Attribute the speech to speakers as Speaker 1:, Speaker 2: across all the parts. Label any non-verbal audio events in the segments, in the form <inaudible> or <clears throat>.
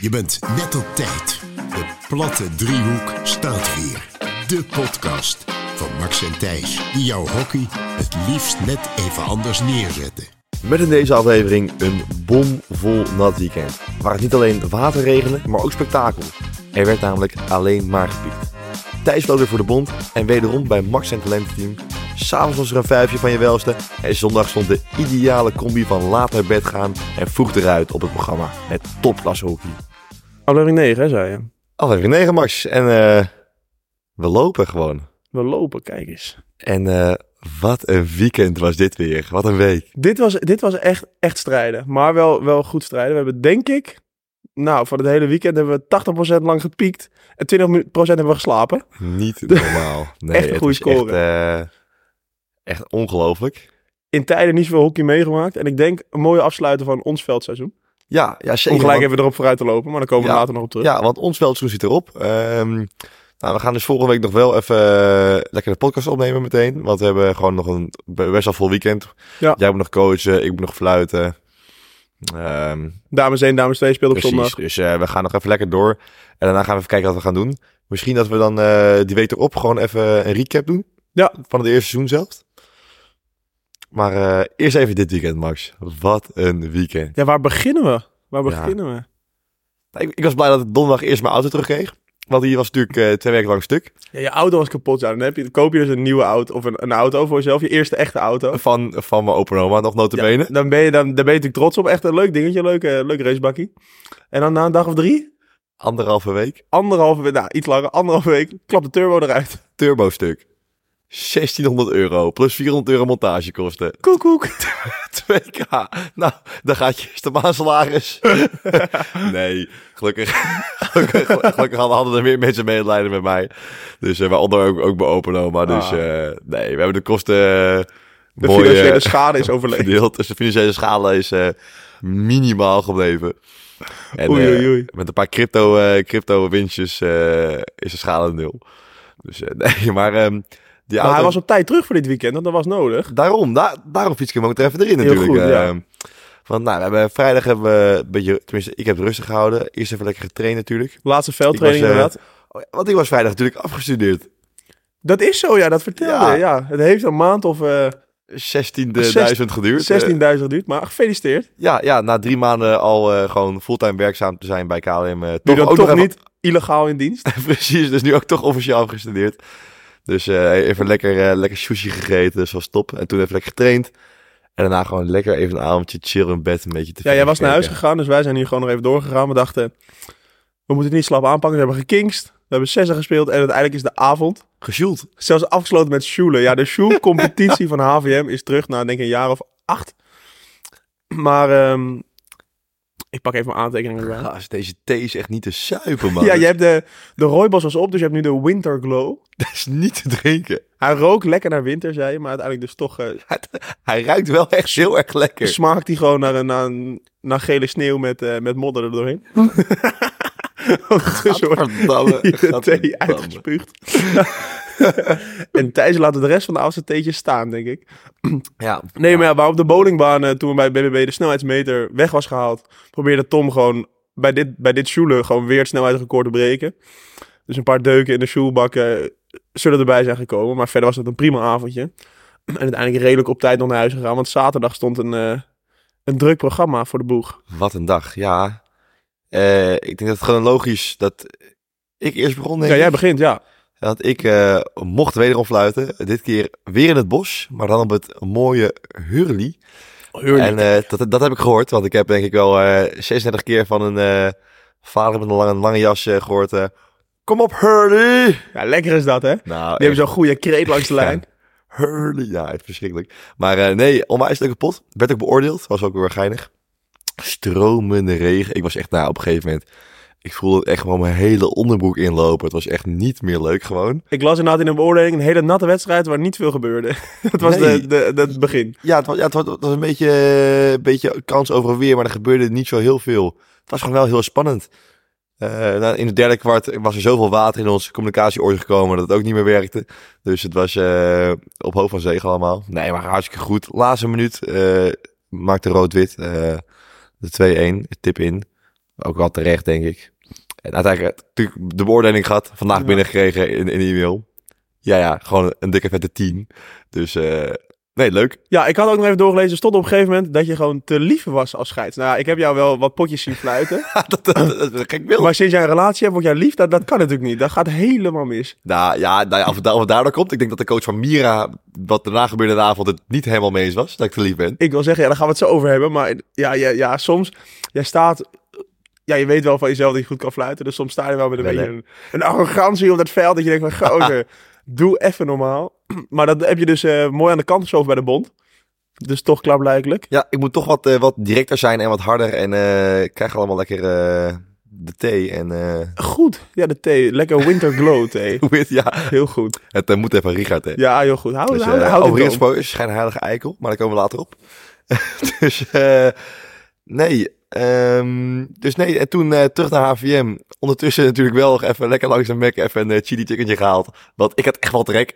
Speaker 1: Je bent net op tijd. De platte driehoek staat weer. De podcast van Max en Thijs, die jouw hockey het liefst net even anders neerzetten.
Speaker 2: Met in deze aflevering een bomvol nat weekend. Waar het niet alleen water regende, maar ook spektakel. Er werd namelijk alleen maar gepiept. Thijs vloog weer voor de bond en wederom bij Max en Talententeam. S'avonds was er een vijfje van je welste en zondag stond de ideale combi van laat naar bed gaan en vroeg eruit op het programma. Het topklasse hockey.
Speaker 3: Aflevering 9, Oh, hè, zei je.
Speaker 2: Aflevering 9 Max en eh, we lopen gewoon.
Speaker 3: We lopen, kijk eens.
Speaker 2: En eh, wat een weekend was dit weer. Wat een week.
Speaker 3: Dit was, dit was echt, echt strijden. Maar wel, wel goed strijden. We hebben, denk ik, nou, voor het hele weekend hebben we 80% lang gepiekt. En 20% hebben we geslapen. <laughs>
Speaker 2: Niet normaal. Nee,
Speaker 3: Echt een
Speaker 2: het
Speaker 3: goede
Speaker 2: is
Speaker 3: score.
Speaker 2: Echt, eh, echt ongelooflijk.
Speaker 3: In tijden niet zoveel hockey meegemaakt. En ik denk een mooie afsluiter van ons veldseizoen.
Speaker 2: Ja, ja zeker.
Speaker 3: Om gelijk
Speaker 2: want,
Speaker 3: even erop vooruit te lopen, maar daar komen we
Speaker 2: Ja.
Speaker 3: later nog op terug.
Speaker 2: ja, want ons veldseizoen zit erop. Ehm, nou, we gaan dus volgende week nog wel even eh, lekker de podcast opnemen meteen. Want we hebben gewoon nog een best wel vol weekend.
Speaker 3: Ja.
Speaker 2: Jij moet nog coachen, ik moet nog fluiten. Ehm,
Speaker 3: Dames 1, dames 2 speelden op
Speaker 2: precies.
Speaker 3: zondag.
Speaker 2: Dus eh, we gaan nog even lekker door. En daarna gaan we even kijken wat we gaan doen. Misschien dat we dan eh, die week erop gewoon even een recap doen.
Speaker 3: Ja.
Speaker 2: Van het eerste seizoen zelf. Maar eh, eerst even dit weekend, Max. Wat een weekend.
Speaker 3: Ja, waar beginnen we? Waar
Speaker 2: Ja.
Speaker 3: beginnen we?
Speaker 2: Nou, Ik, ik was blij dat ik donderdag eerst mijn auto terugkreeg. Want die was natuurlijk eh, twee weken lang stuk.
Speaker 3: Ja, je auto was kapot. Ja. Dan, heb je, dan koop je dus een nieuwe auto of een, een auto voor jezelf. Je eerste echte auto.
Speaker 2: Van, van mijn opa en oma nog notabene.
Speaker 3: Ja, <laughs> dan, ben je, dan, dan ben je natuurlijk trots op. Echt een leuk dingetje, leuk, eh, leuk racebakkie. En dan na een dag of drie,
Speaker 2: Anderhalve week.
Speaker 3: anderhalve week, nou iets langer, anderhalve week, klapt de turbo eruit. <laughs>
Speaker 2: Turbo stuk. 1600 euro. Plus 400 euro montagekosten.
Speaker 3: Koek, koek.
Speaker 2: 2k. Nou, dan gaat je eerste maand salaris. <laughs> nee, gelukkig. gelukkig, gelukkig hadden- hadden er meer mensen medelijden met mij. Dus eh, waaronder ook, ook mijn opa en oma. Dus
Speaker 3: Ah.
Speaker 2: eh, nee, we hebben de kosten... eh,
Speaker 3: De
Speaker 2: mooi, eh, <laughs>
Speaker 3: financiële schade is overleden.
Speaker 2: verdeeld. Dus de financiële schade is eh, minimaal gebleven. En,
Speaker 3: Oei,
Speaker 2: eh,
Speaker 3: oei, oei.
Speaker 2: met een paar crypto, eh, crypto winstjes eh, is de schade nul. Dus eh, <laughs> nee, maar ehm, die
Speaker 3: Maar
Speaker 2: auto...
Speaker 3: hij was op tijd terug voor dit weekend, want dat was nodig.
Speaker 2: Daarom, da- daarom fiets ik hem ook er even erin
Speaker 3: Heel
Speaker 2: natuurlijk.
Speaker 3: goed,
Speaker 2: eh.
Speaker 3: ja.
Speaker 2: Want nou, we hebben, vrijdag hebben we een beetje... Tenminste, ik heb het rustig gehouden. Eerst even lekker getraind natuurlijk.
Speaker 3: Laatste veldtraining
Speaker 2: Ik was, eh,
Speaker 3: inderdaad.
Speaker 2: Want ik was vrijdag natuurlijk afgestudeerd.
Speaker 3: Dat is zo, ja, dat vertelde
Speaker 2: Ja.
Speaker 3: je, ja. Het heeft een maand of eh
Speaker 2: 16.000
Speaker 3: Zest-
Speaker 2: geduurd. eh.
Speaker 3: 16.000 duurt, maar gefeliciteerd.
Speaker 2: Ja, ja, na drie maanden al eh, gewoon fulltime werkzaam te zijn bij KLM. eh,
Speaker 3: Nu dan
Speaker 2: ook nog
Speaker 3: toch
Speaker 2: even-
Speaker 3: niet illegaal
Speaker 2: <laughs>
Speaker 3: in dienst.
Speaker 2: Precies, dus nu ook toch officieel afgestudeerd. Dus eh, even lekker, eh, lekker sushi gegeten, dus was top. En toen even lekker getraind. En daarna gewoon lekker even een avondje chillen in bed, een beetje te
Speaker 3: Ja, jij was naar huis gegaan, dus wij zijn hier gewoon nog even doorgegaan. We dachten, we moeten het niet slap aanpakken. We hebben gekingst, we hebben zessen gespeeld en uiteindelijk is de avond
Speaker 2: Gesjoeld.
Speaker 3: Zelfs afgesloten met Sjoelen. Ja, de Sjoel-competitie van HVM is terug na denk ik een jaar of acht. Maar ehm, ik pak even mijn aantekeningen erbij.
Speaker 2: Gaas, Nou, deze thee is echt niet te suipen, man.
Speaker 3: <laughs> Ja, je hebt de, de rooibos was op, dus je hebt nu de Winter Glow.
Speaker 2: Dat is niet te drinken.
Speaker 3: Hij rookt lekker naar winter, zei je, maar uiteindelijk dus toch eh,
Speaker 2: Het- hij ruikt wel echt heel erg lekker.
Speaker 3: smaakt hij gewoon naar, een- naar, een- naar gele sneeuw met, eh, met modder er doorheen. <laughs> Ondertussen wordt <laughs>
Speaker 2: Gadverdamme.
Speaker 3: de thee
Speaker 2: gadverdamme.
Speaker 3: uitgespuugd. <laughs> en Thijs laat de rest van de avond theetjes staan, denk ik.
Speaker 2: Ja,
Speaker 3: Nee, maar ja, waar op de bowlingbaan, eh, toen bij BBB de snelheidsmeter weg was gehaald, probeerde Tom gewoon bij dit, bij dit sjoelen gewoon weer het snelheidsrecord te breken. Dus een paar deuken in de sjoelbakken zullen erbij zijn gekomen. Maar verder was het een prima avondje. <clears throat> En uiteindelijk redelijk op tijd nog naar huis gegaan, want zaterdag stond een, eh, een druk programma voor de boeg.
Speaker 2: wat een dag. Ja, Eh, ik denk dat het gewoon logisch dat ik eerst begon. denk
Speaker 3: ja, jij
Speaker 2: ik.
Speaker 3: begint, ja.
Speaker 2: Want ik eh, mocht wederom fluiten. Dit keer weer in het bos, maar dan op het mooie Hurley. En eh, dat, dat heb ik gehoord, want ik heb denk ik wel eh 36 keer van een eh, vader met een lange, lange jas eh, gehoord. eh, Kom op Nou, Hurley!
Speaker 3: Ja, lekker is dat, hè?
Speaker 2: Nou,
Speaker 3: Die hebben zo'n goede kreet langs de lijn.
Speaker 2: Hurley, ja, het is verschrikkelijk. Maar eh nee, onwijs leuke pot. Werd ook beoordeeld, was ook weer geinig. Stromende regen. Ik was echt, nou, op een gegeven moment... Ik voelde het echt gewoon mijn hele onderbroek inlopen. Het was echt niet meer leuk gewoon.
Speaker 3: Ik las inderdaad in een beoordeling een hele natte wedstrijd waar niet veel gebeurde. <laughs> dat was
Speaker 2: Nee.
Speaker 3: de, de, de, het begin.
Speaker 2: Ja, het was, ja, het was, het was een beetje, eh, een beetje kans over en weer, maar er gebeurde niet zo heel veel. Het was gewoon wel heel spannend. Eh, nou, in het derde kwart was er zoveel water in ons communicatieoor gekomen dat het ook niet meer werkte. Dus het was eh, op hoofd van zegen allemaal. Nee, maar hartstikke goed. Laatste minuut eh, maakte rood-wit eh, de 2-1, tip in. Ook wel terecht, denk ik. En uiteindelijk eh, natuurlijk de beoordeling gehad. Vandaag
Speaker 3: Ja.
Speaker 2: binnengekregen in, in de e-mail. Ja, ja, gewoon een dikke vette 10. Dus eh, nee, leuk.
Speaker 3: Ja, ik had ook nog even doorgelezen. Er stond op een gegeven moment dat je gewoon te lief was als scheids. Nou, ja, ik heb jou wel wat potjes zien
Speaker 2: <laughs>
Speaker 3: fluiten.
Speaker 2: dat, dat, dat, dat is een gek beeld.
Speaker 3: maar sinds jij een relatie hebt, word jij lief. Dat, dat kan natuurlijk niet. Dat gaat helemaal mis.
Speaker 2: Nou ja, nou ja of, het daar, of het daardoor komt. Ik denk dat de coach van Mira, wat daarna gebeurde in de avond, het niet helemaal mee eens was. Dat ik te lief ben.
Speaker 3: Ik wil zeggen, ja, daar gaan we het zo over hebben. Maar ja, ja, ja soms, jij staat... Ja, je weet wel van jezelf dat je goed kan fluiten. Dus soms sta je wel met een
Speaker 2: Wel,
Speaker 3: beetje
Speaker 2: hè?
Speaker 3: een, een arrogantie op dat veld. Dat je denkt
Speaker 2: <laughs>
Speaker 3: van, gozer, doe even normaal. <clears throat> Maar dat heb je dus eh, mooi aan de kant geschoven bij de bond. Dus toch klaarblijkelijk.
Speaker 2: Ja, ik moet toch wat, eh, wat directer zijn en wat harder. En eh, ik krijg allemaal lekker eh, de thee. En eh, <laughs>
Speaker 3: Goed. Ja, de thee. Lekker winter glow thee.
Speaker 2: hoe heet- ja,
Speaker 3: Heel goed.
Speaker 2: het eh, moet even Richard. Hè.
Speaker 3: Ja, Oh, nou, heel goed. Hou,
Speaker 2: Dus,
Speaker 3: hou,
Speaker 2: eh,
Speaker 3: hou dit
Speaker 2: overigens
Speaker 3: dom.
Speaker 2: spoor is schijnheilige eikel, maar daar komen we later op. <laughs> dus eh, nee, ehm, dus nee, en toen eh, terug naar HVM. Ondertussen natuurlijk wel nog even lekker langs een Mac, even een eh, chili chickentje gehaald. Want ik had echt wel trek.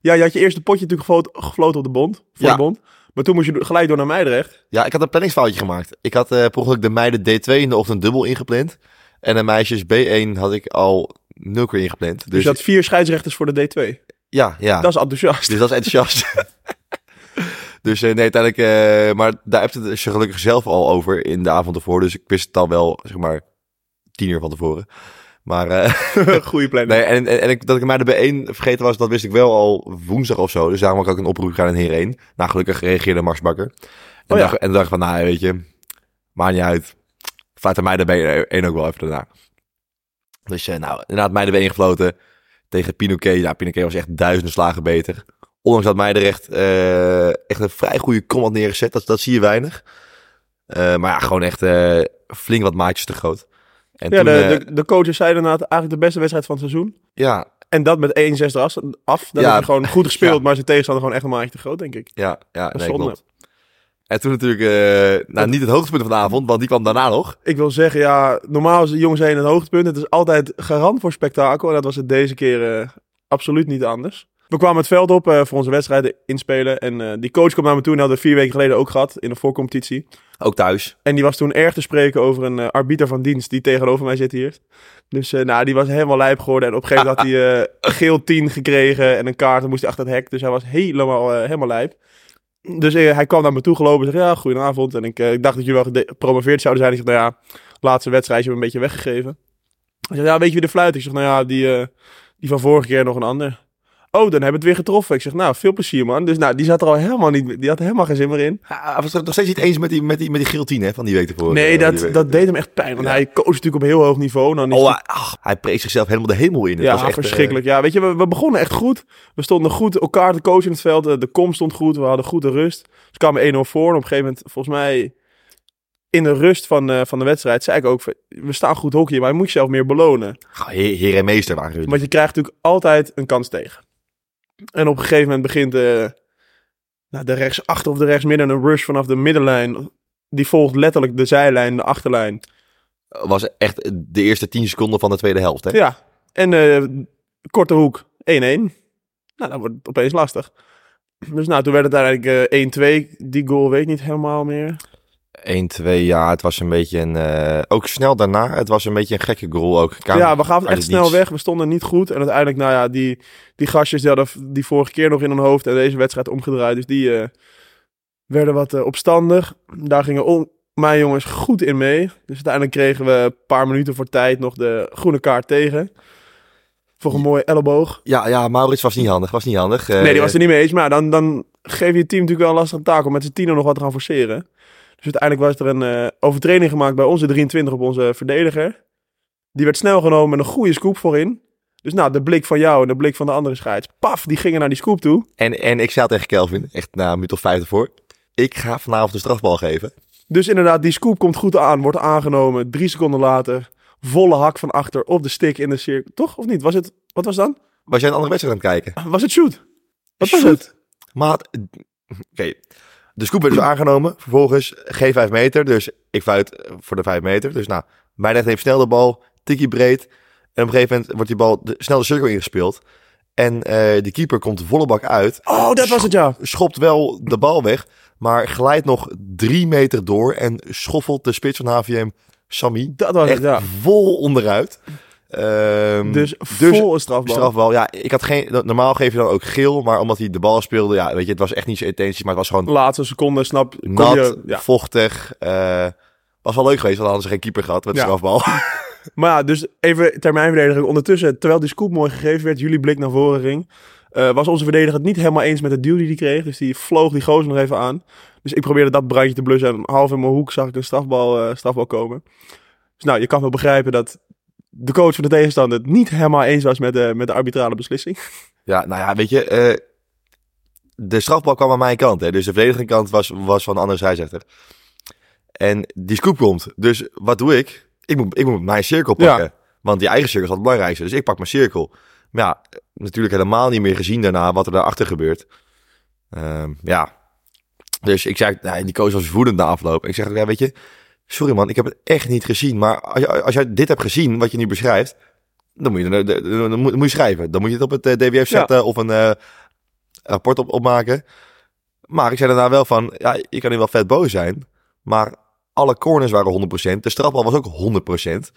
Speaker 3: Ja, je had je eerste potje natuurlijk gefloten, gefloten op de bond. Voor
Speaker 2: Ja.
Speaker 3: de bond. Maar toen moest je gelijk door naar Meidrecht. Dus
Speaker 2: Ja, ik had een planningsfoutje gemaakt. Ik had eh per ongeluk de meiden D2 in de ochtend dubbel ingepland. En de meisjes B1 had ik al nul keer ingepland. Dus,
Speaker 3: Dus, je had vier scheidsrechters voor de D2.
Speaker 2: ja, ja.
Speaker 3: Dat is enthousiast.
Speaker 2: Dus dat is enthousiast. <laughs> dus eh, nee, uiteindelijk... eh, maar daar heb het ze gelukkig zelf al over in de avond ervoor. Dus ik wist het al wel, zeg maar, tien uur van tevoren. Maar... eh,
Speaker 3: <laughs> Goeie planning.
Speaker 2: Nee, en, en, en ik, dat ik mij de B1 vergeten was, dat wist ik wel al woensdag of zo. Dus daarom had ik ook een oproep gedaan in hierheen. Nou, gelukkig reageerde Max Bakker. En,
Speaker 3: Oh ja.
Speaker 2: dacht, en dacht ik van, nou, weet je, maakt niet uit. Fluit aan mij de B1 ook wel even daarna. Dus eh, nou, inderdaad, mij de B1 gefloten tegen Pinoquet. Nou, Pinoquet was echt duizenden slagen beter. Ondanks dat Meiderecht eh echt een vrij goede kom had neergezet. Dat, dat zie je weinig. Eh, maar ja, gewoon echt eh, flink wat maatjes te groot. En
Speaker 3: ja,
Speaker 2: toen,
Speaker 3: de,
Speaker 2: eh,
Speaker 3: de, de coaches zeiden na het eigenlijk de beste wedstrijd van het seizoen.
Speaker 2: ja,
Speaker 3: En dat met 1-6 eraf. af. Dan
Speaker 2: Ja.
Speaker 3: heb je gewoon goed gespeeld,
Speaker 2: <laughs> Ja.
Speaker 3: maar zijn tegenstander gewoon echt een maatje te groot, denk ik.
Speaker 2: Ja, ja nee,
Speaker 3: zonde.
Speaker 2: klopt. En toen natuurlijk, eh, nou niet het hoogtepunt van de avond, want die kwam daarna nog.
Speaker 3: Ik wil zeggen, ja, normaal is de jongens heen het hoogtepunt. Het is altijd garant voor spektakel. En dat was het deze keer eh, absoluut niet anders. We kwamen het veld op eh, voor onze wedstrijden inspelen. En eh, die coach kwam naar me toe en hadden we vier weken geleden ook gehad in de voorcompetitie.
Speaker 2: Ook thuis.
Speaker 3: En die was toen erg te spreken over een eh, arbiter van dienst die tegenover mij zit hier. Dus eh, nou, die was helemaal lijp geworden. En op een gegeven moment had hij eh, een geel 10 gekregen en een kaart. En moest hij achter het hek. Dus hij was helemaal, eh, helemaal lijp. Dus eh, hij kwam naar me toe gelopen en zei, ja, goedenavond. En ik, eh, ik dacht dat jullie wel gede- gepromoveerd zouden zijn. Ik zeg, nou ja, laatste wedstrijd hebben we een beetje weggegeven. Hij zei, ja, weet je wie de fluit? is?" Ik zeg, nou ja, die, eh, die van vorige keer nog een ander. Oh, dan hebben we het weer getroffen. Ik zeg, nou, veel plezier, man. Dus nou, die zat er al helemaal niet, die had er helemaal geen zin meer in.
Speaker 2: Hij was het nog steeds niet eens met die, met die, met die guillotine hè, van die week ervoor.
Speaker 3: Nee,
Speaker 2: Eh,
Speaker 3: dat,
Speaker 2: die week.
Speaker 3: dat deed hem echt pijn. Want
Speaker 2: Ja.
Speaker 3: hij coacht natuurlijk op heel hoog niveau. en Dan is
Speaker 2: Oh,
Speaker 3: hij-
Speaker 2: hij, ach, hij prees zichzelf helemaal de hemel in. Het
Speaker 3: ja,
Speaker 2: was echt, eh,
Speaker 3: verschrikkelijk. Ja, weet je, we, we begonnen echt goed. We stonden goed elkaar te coachen in het veld. Eh, De kom stond goed. We hadden goede rust. Dus kwamen 1-0 voor. En op een gegeven moment, volgens mij, in de rust van, eh, van de wedstrijd, zei ik ook... van, We staan goed hockey, maar je moet jezelf meer belonen.
Speaker 2: goh, heer, heer en meester waren jullie.
Speaker 3: Want je krijgt natuurlijk altijd een kans tegen. En op een gegeven moment begint de, nou, de rechtsachter of de rechtsmidden een rush vanaf de middenlijn. Die volgt letterlijk de zijlijn, de achterlijn.
Speaker 2: was echt de eerste 10 seconden van de tweede helft. Hè?
Speaker 3: Ja, en eh, korte hoek 1-1. Nou, dan wordt het opeens lastig. Dus nou, toen werd het eigenlijk eh, 1-2. Die goal weet ik niet helemaal meer.
Speaker 2: 1, 2, ja, het was een beetje een... eh, ook snel daarna, het was een beetje een gekke goal ook. Kamer-
Speaker 3: ja, we gaven
Speaker 2: uit
Speaker 3: het echt
Speaker 2: het
Speaker 3: snel
Speaker 2: niets.
Speaker 3: weg. We stonden niet goed. En uiteindelijk, nou ja, die, die gastjes die hadden die vorige keer nog in hun hoofd en deze wedstrijd omgedraaid. Dus die eh, werden wat eh, opstandig. Daar gingen on- mijn jongens goed in mee. Dus uiteindelijk kregen we een paar minuten voor tijd nog de groene kaart tegen. Voor een mooie elleboog.
Speaker 2: Ja, ja, Maurits was niet handig, was niet handig. Eh,
Speaker 3: Nee, die was er niet mee eens. Maar dan, dan geef je het team natuurlijk wel een lastige taak om met z'n tienen nog wat te gaan forceren. Dus uiteindelijk was er een eh, overtreding gemaakt bij onze 23 op onze verdediger. Die werd snel genomen met een goede scoop voorin. Dus nou, de blik van jou en de blik van de andere scheids. Paf, die gingen naar die scoop toe.
Speaker 2: En, en ik zei al tegen Kelvin, echt na een minuut of vijf ervoor. Ik ga vanavond de strafbal geven.
Speaker 3: Dus inderdaad, die scoop komt goed aan, wordt aangenomen. Drie seconden later, volle hak van achter op de stick in de cirkel. Toch? Of niet? Was het, wat was het dan?
Speaker 2: Was jij een andere wedstrijd aan het kijken?
Speaker 3: Was het shoot? Wat was
Speaker 2: Shoot.
Speaker 3: het?
Speaker 2: Maat, eh, oké. De scoop werd dus aangenomen. Vervolgens geen vijf meter. Dus ik fluit eh, voor de vijf meter. Dus nou, Meijden heeft snel de bal. Tikkie breed. En op een gegeven moment wordt die bal de, snel de cirkel ingespeeld. En eh die keeper komt volle bak uit.
Speaker 3: Oh, dat was het ja.
Speaker 2: Schopt wel de bal weg. Maar glijdt nog drie meter door. En schoffelt de spits van HVM Sammy.
Speaker 3: Dat was
Speaker 2: echt
Speaker 3: het, Oh, ja.
Speaker 2: vol onderuit. Ehm,
Speaker 3: Dus, vol een strafbal.
Speaker 2: strafbal. Ja, ik had geen, normaal geef je dan ook geel, maar omdat hij de bal speelde, ja, weet je, het was echt niet zo intenties, maar het was gewoon
Speaker 3: Laatste seconde, snap kom
Speaker 2: nat,
Speaker 3: je. Ja.
Speaker 2: vochtig. eh, was wel leuk geweest, want dan hadden ze geen keeper gehad met de
Speaker 3: Ja.
Speaker 2: strafbal.
Speaker 3: Maar ja, dus even termijnverdediging. Ondertussen, terwijl die scoop mooi gegeven werd, jullie blik naar voren ging, eh, was onze verdediger het niet helemaal eens met de duw die hij kreeg. Dus die vloog die gozer nog even aan. Dus ik probeerde dat brandje te blussen en half in mijn hoek zag ik een strafbal, eh, strafbal komen. Dus nou, je kan wel begrijpen dat de coach van de tegenstander het niet helemaal eens was met de, met de arbitrale beslissing.
Speaker 2: Ja, nou ja, weet je, eh, de strafbal kwam aan mijn kant. Hè, dus de verdedigende kant was, was van de andere scheidsrechter. En die scoop komt. Dus wat doe ik? Ik moet, ik moet mijn cirkel
Speaker 3: Ja.
Speaker 2: pakken. Want die eigen cirkel is het belangrijkste. Dus ik pak mijn cirkel. Maar ja, natuurlijk helemaal niet meer gezien daarna wat er daarachter gebeurt. Ehm, ja. Dus ik zei, nou, die coach was woedend na afloop. Ik zeg, ja, weet je, sorry man, ik heb het echt niet gezien. Maar als, je- als jij dit hebt gezien, wat je nu beschrijft, dan moet je, dan, dan- dan moet, dan moet je schrijven. Dan moet je het op het eh, DWF zetten of een eh, rapport op, opmaken. Maar ik zei daarna wel van, ja, je kan nu wel vet boos zijn. Maar alle corners waren 100%. De strafbal was ook 100%.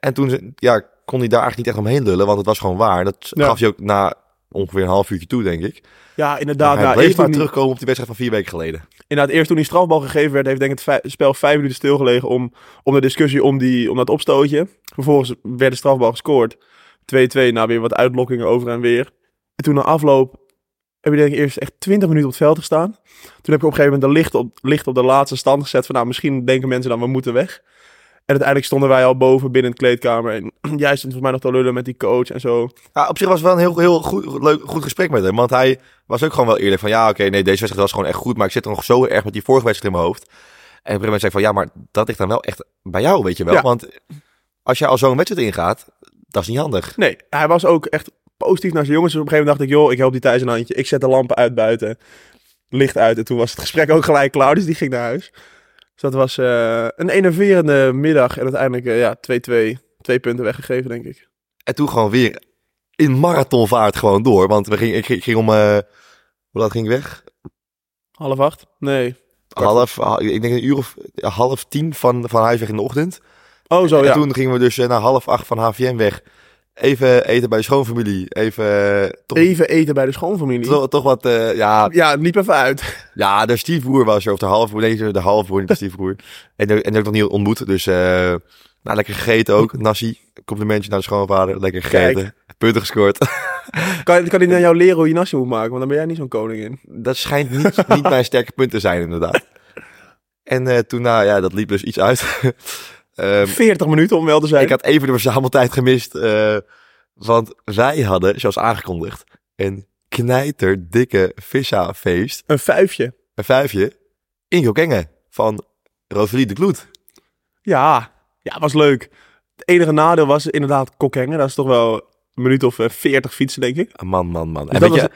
Speaker 2: En toen ze- ja, kon hij daar eigenlijk niet echt omheen lullen, want het was gewoon waar. Dat
Speaker 3: Ja.
Speaker 2: gaf hij ook na ongeveer een half uurtje toe, denk ik.
Speaker 3: Ja, inderdaad.
Speaker 2: hij
Speaker 3: nou,
Speaker 2: bleef
Speaker 3: eerst
Speaker 2: maar
Speaker 3: toen die-
Speaker 2: terugkomen op die wedstrijd van vier weken geleden.
Speaker 3: Inderdaad, eerst toen die strafbal gegeven werd, heeft denk ik het vij- spel vijf minuten stilgelegen om, om de discussie om, die, om dat opstootje. Vervolgens werd de strafbal gescoord. 2-2, na weer wat uitlokkingen over en weer. En toen na afloop heb je denk ik eerst echt 20 minuten op het veld gestaan. Toen heb ik op een gegeven moment de licht op, licht op de laatste stand gezet van nou, misschien denken mensen dan we moeten weg. En uiteindelijk stonden wij al boven binnen de kleedkamer. En <clears throat> jij stond volgens mij nog te lullen met die coach en zo.
Speaker 2: Ja, op zich was het wel een heel, heel goed, leuk, goed gesprek met hem. Want hij was ook gewoon wel eerlijk van... Ja, oké, nee, deze wedstrijd was gewoon echt goed. Maar ik zit nog zo erg met die vorige wedstrijd in mijn hoofd. En op een gegeven moment zei ik van... Ja, maar dat ligt dan wel echt bij jou, weet je wel.
Speaker 3: Ja.
Speaker 2: Want als jij al zo'n wedstrijd ingaat, dat is niet handig.
Speaker 3: Nee, hij was ook echt positief naar zijn jongens. Dus op een gegeven moment dacht ik, joh, ik help die Thijs een handje. Ik zet de lampen uit buiten. Licht uit. En toen was het gesprek ook gelijk klaar. Dus die ging naar huis. Dus dat was eh, een enerverende middag. En uiteindelijk, eh, ja, 2-2. Twee punten weggegeven, denk ik.
Speaker 2: En toen gewoon weer in marathonvaart gewoon door. Want we gingen, ik ging- ging om... eh, hoe laat ging ik weg?
Speaker 3: Half acht? Nee. Kwart
Speaker 2: Half, ha- ik denk een uur of half tien van, van huis weg in de ochtend.
Speaker 3: Oh, zo,
Speaker 2: en
Speaker 3: ja.
Speaker 2: toen gingen we dus eh, na half acht van HVM weg. Even eten bij de schoonfamilie. Even eh, toch,
Speaker 3: Even eten bij de schoonfamilie.
Speaker 2: toch, toch wat... eh, ja,
Speaker 3: Ja, het liep even uit.
Speaker 2: ja, de stiefbroer was er. Of de halfbroer. Nee, de halfbroer, niet de stiefbroer. En, die- en die heb ik nog niet ontmoet. Dus eh, nou, lekker gegeten ook. Nasi, complimentje naar de schoonvader. Lekker
Speaker 3: Kijk.
Speaker 2: gegeten. Punten gescoord. <laughs>
Speaker 3: Kan, kan hij naar jou leren hoe je nasi moet maken? Want dan ben jij niet zo'n koning in.
Speaker 2: Dat schijnt niet, niet mijn sterke punt te zijn, inderdaad. En eh, toen, nou ja, dat liep dus iets uit. <laughs> Ehm,
Speaker 3: 40 minuten om wel te zijn.
Speaker 2: Ik had even de verzameltijd gemist. eh, want wij hadden, zoals aangekondigd, een knijterdikke vissa-feest.
Speaker 3: Een vijfje.
Speaker 2: Een vijfje in Jokenge van Rosalie de Kloet.
Speaker 3: Ja, ja, was leuk. Het enige nadeel was inderdaad kokkengen. Dat is toch wel een minuut of eh, veertig fietsen, denk ik.
Speaker 2: Ah, Man, man, man. En
Speaker 3: dat
Speaker 2: weet je,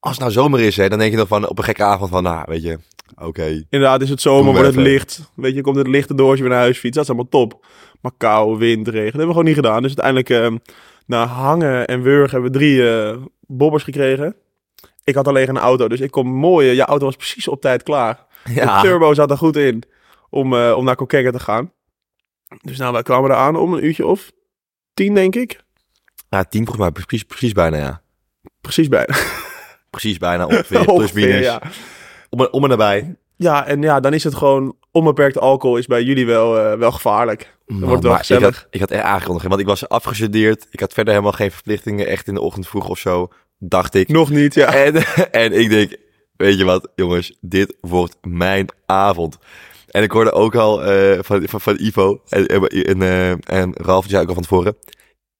Speaker 2: als het nou zomer is, hè, dan denk je nog van op een gekke avond van, nou, weet je, oké.
Speaker 3: Inderdaad, is het
Speaker 2: Doe
Speaker 3: zomer, wordt het
Speaker 2: even.
Speaker 3: licht. Weet je, komt het licht erdoor als je weer naar huis fietst. Dat is allemaal top. Maar kou, wind, regen, dat hebben we gewoon niet gedaan. Dus uiteindelijk, eh, na hangen en wurgen, hebben we drie eh, bobbers gekregen. Ik had alleen een auto, dus ik kon mooi. eh, Je auto was precies op tijd klaar.
Speaker 2: Ja.
Speaker 3: De turbo zat er goed in om, eh, om naar Kokkengen te gaan. Dus nou, wij kwamen eraan om een uurtje of tien, denk ik.
Speaker 2: Ja, Nou, tien volgens mij, precies, precies bijna, ja.
Speaker 3: Precies bijna.
Speaker 2: Precies bijna, ongeveer, plus
Speaker 3: <laughs> Ongeveer,
Speaker 2: minus.
Speaker 3: ja.
Speaker 2: Om, en- om en nabij.
Speaker 3: Ja, en ja, dan is het gewoon onbeperkt alcohol is bij jullie wel, eh, wel gevaarlijk.
Speaker 2: Man,
Speaker 3: wordt wel
Speaker 2: maar ik
Speaker 3: gezellig.
Speaker 2: had, ik had echt aangekondigd, want ik was afgestudeerd. Ik had verder helemaal geen verplichtingen, echt in de ochtend vroeg of zo, dacht ik.
Speaker 3: Nog niet,
Speaker 2: <laughs>
Speaker 3: ja.
Speaker 2: En, en ik denk, weet je wat, jongens, dit wordt mijn avond. En ik hoorde ook al eh, van, van, van Ivo en, en, en, eh, en Ralf, die zei ook al van tevoren,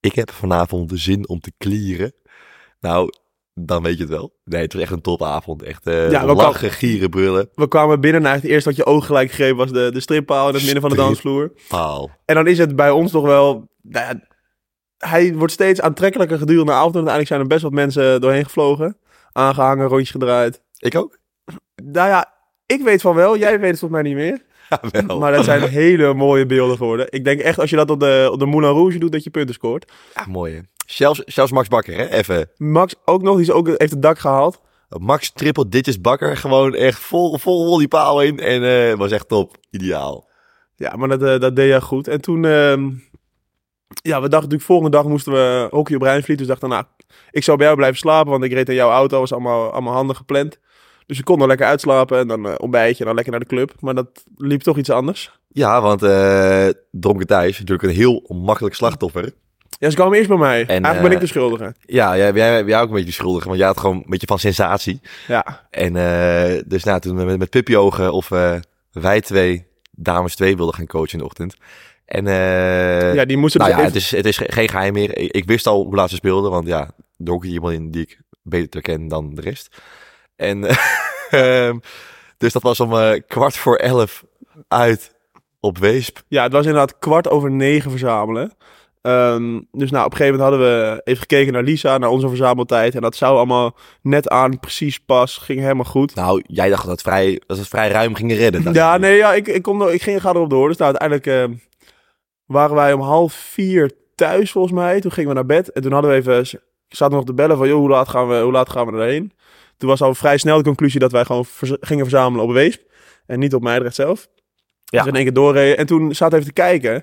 Speaker 2: ik heb vanavond de zin om te klieren. Nou, dan weet je het wel. Nee, het was echt een topavond. Echt eh
Speaker 3: Ja, maar ook al-
Speaker 2: lachen, gieren, brullen.
Speaker 3: We kwamen binnen en eigenlijk het eerste wat je oog gelijk greep was de, de strippaal in het midden van de
Speaker 2: Strip.
Speaker 3: dansvloer.
Speaker 2: Paal.
Speaker 3: En dan is het bij ons nog wel... Nou ja, hij wordt steeds aantrekkelijker gedurende de avond. En uiteindelijk zijn er best wat mensen doorheen gevlogen. Aangehangen, rondjes gedraaid.
Speaker 2: Ik ook?
Speaker 3: Nou ja, ik weet van wel. Jij weet het volgens mij niet meer.
Speaker 2: Ja, wel.
Speaker 3: Maar dat zijn hele mooie beelden geworden. Ik denk echt als je dat op de, op de Moulin Rouge doet, dat je punten scoort.
Speaker 2: Ja, Ah, mooi hè. Zelfs, zelfs Max Bakker, hè, even.
Speaker 3: Max ook nog, die is ook, heeft het dak gehaald.
Speaker 2: Max triple digits Bakker, gewoon echt vol, vol, vol die paal in. En eh was echt top. Ideaal.
Speaker 3: Ja, maar dat, eh, dat deed hij goed. En toen, ehm, ja, we dachten natuurlijk, volgende dag moesten we hockey op Rijnvliet. Dus dachten, nou, ik zou bij jou blijven slapen, want ik reed in jouw auto. was allemaal, allemaal handig gepland. Dus ik kon dan lekker uitslapen en dan eh, ontbijtje en dan lekker naar de club. Maar dat liep toch iets anders.
Speaker 2: Ja, want eh Dronken Thijs is natuurlijk een heel makkelijk slachtoffer.
Speaker 3: Ja, ze kwamen eerst bij mij. Eigenlijk ben
Speaker 2: eh,
Speaker 3: ik de schuldige.
Speaker 2: Ja, jij, jij, jij ook een beetje beschuldigd, want jij had gewoon een beetje van sensatie.
Speaker 3: Ja,
Speaker 2: En eh, dus nou, toen we met, met Pippiogen of eh, wij twee, dames twee, wilden gaan coachen in de ochtend. En eh,
Speaker 3: ja die moesten
Speaker 2: nou
Speaker 3: dus
Speaker 2: ja,
Speaker 3: even-
Speaker 2: het is, het is ge- geen geheim meer. Ik, ik wist al hoe laat ze speelden, want ja, er ook iemand in die ik beter ken dan de rest. En <laughs> ehm, dus dat was om eh, kwart voor elf uit op Weesp.
Speaker 3: Ja, het was inderdaad kwart over negen verzamelen. Ehm, dus nou, op een gegeven moment hadden we even gekeken naar Lisa, naar onze verzameltijd. En dat zou allemaal net aan, precies pas, ging helemaal goed.
Speaker 2: Nou, jij dacht dat het vrij, dat het vrij ruim ging redden. dacht
Speaker 3: Ja,
Speaker 2: ik.
Speaker 3: nee, ja, ik, ik, kom er, ik ging ga erop door. Dus nou, uiteindelijk ehm, waren wij om half vier thuis volgens mij. Toen gingen we naar bed en toen hadden we even, zaten we nog te bellen van, joh, hoe laat gaan we, hoe laat gaan we erheen? Toen was al vrij snel de conclusie dat wij gewoon verz- gingen verzamelen op Weesp en niet op Meidrecht zelf.
Speaker 2: Ja.
Speaker 3: Dus in één keer doorreden. En toen zaten we even te kijken.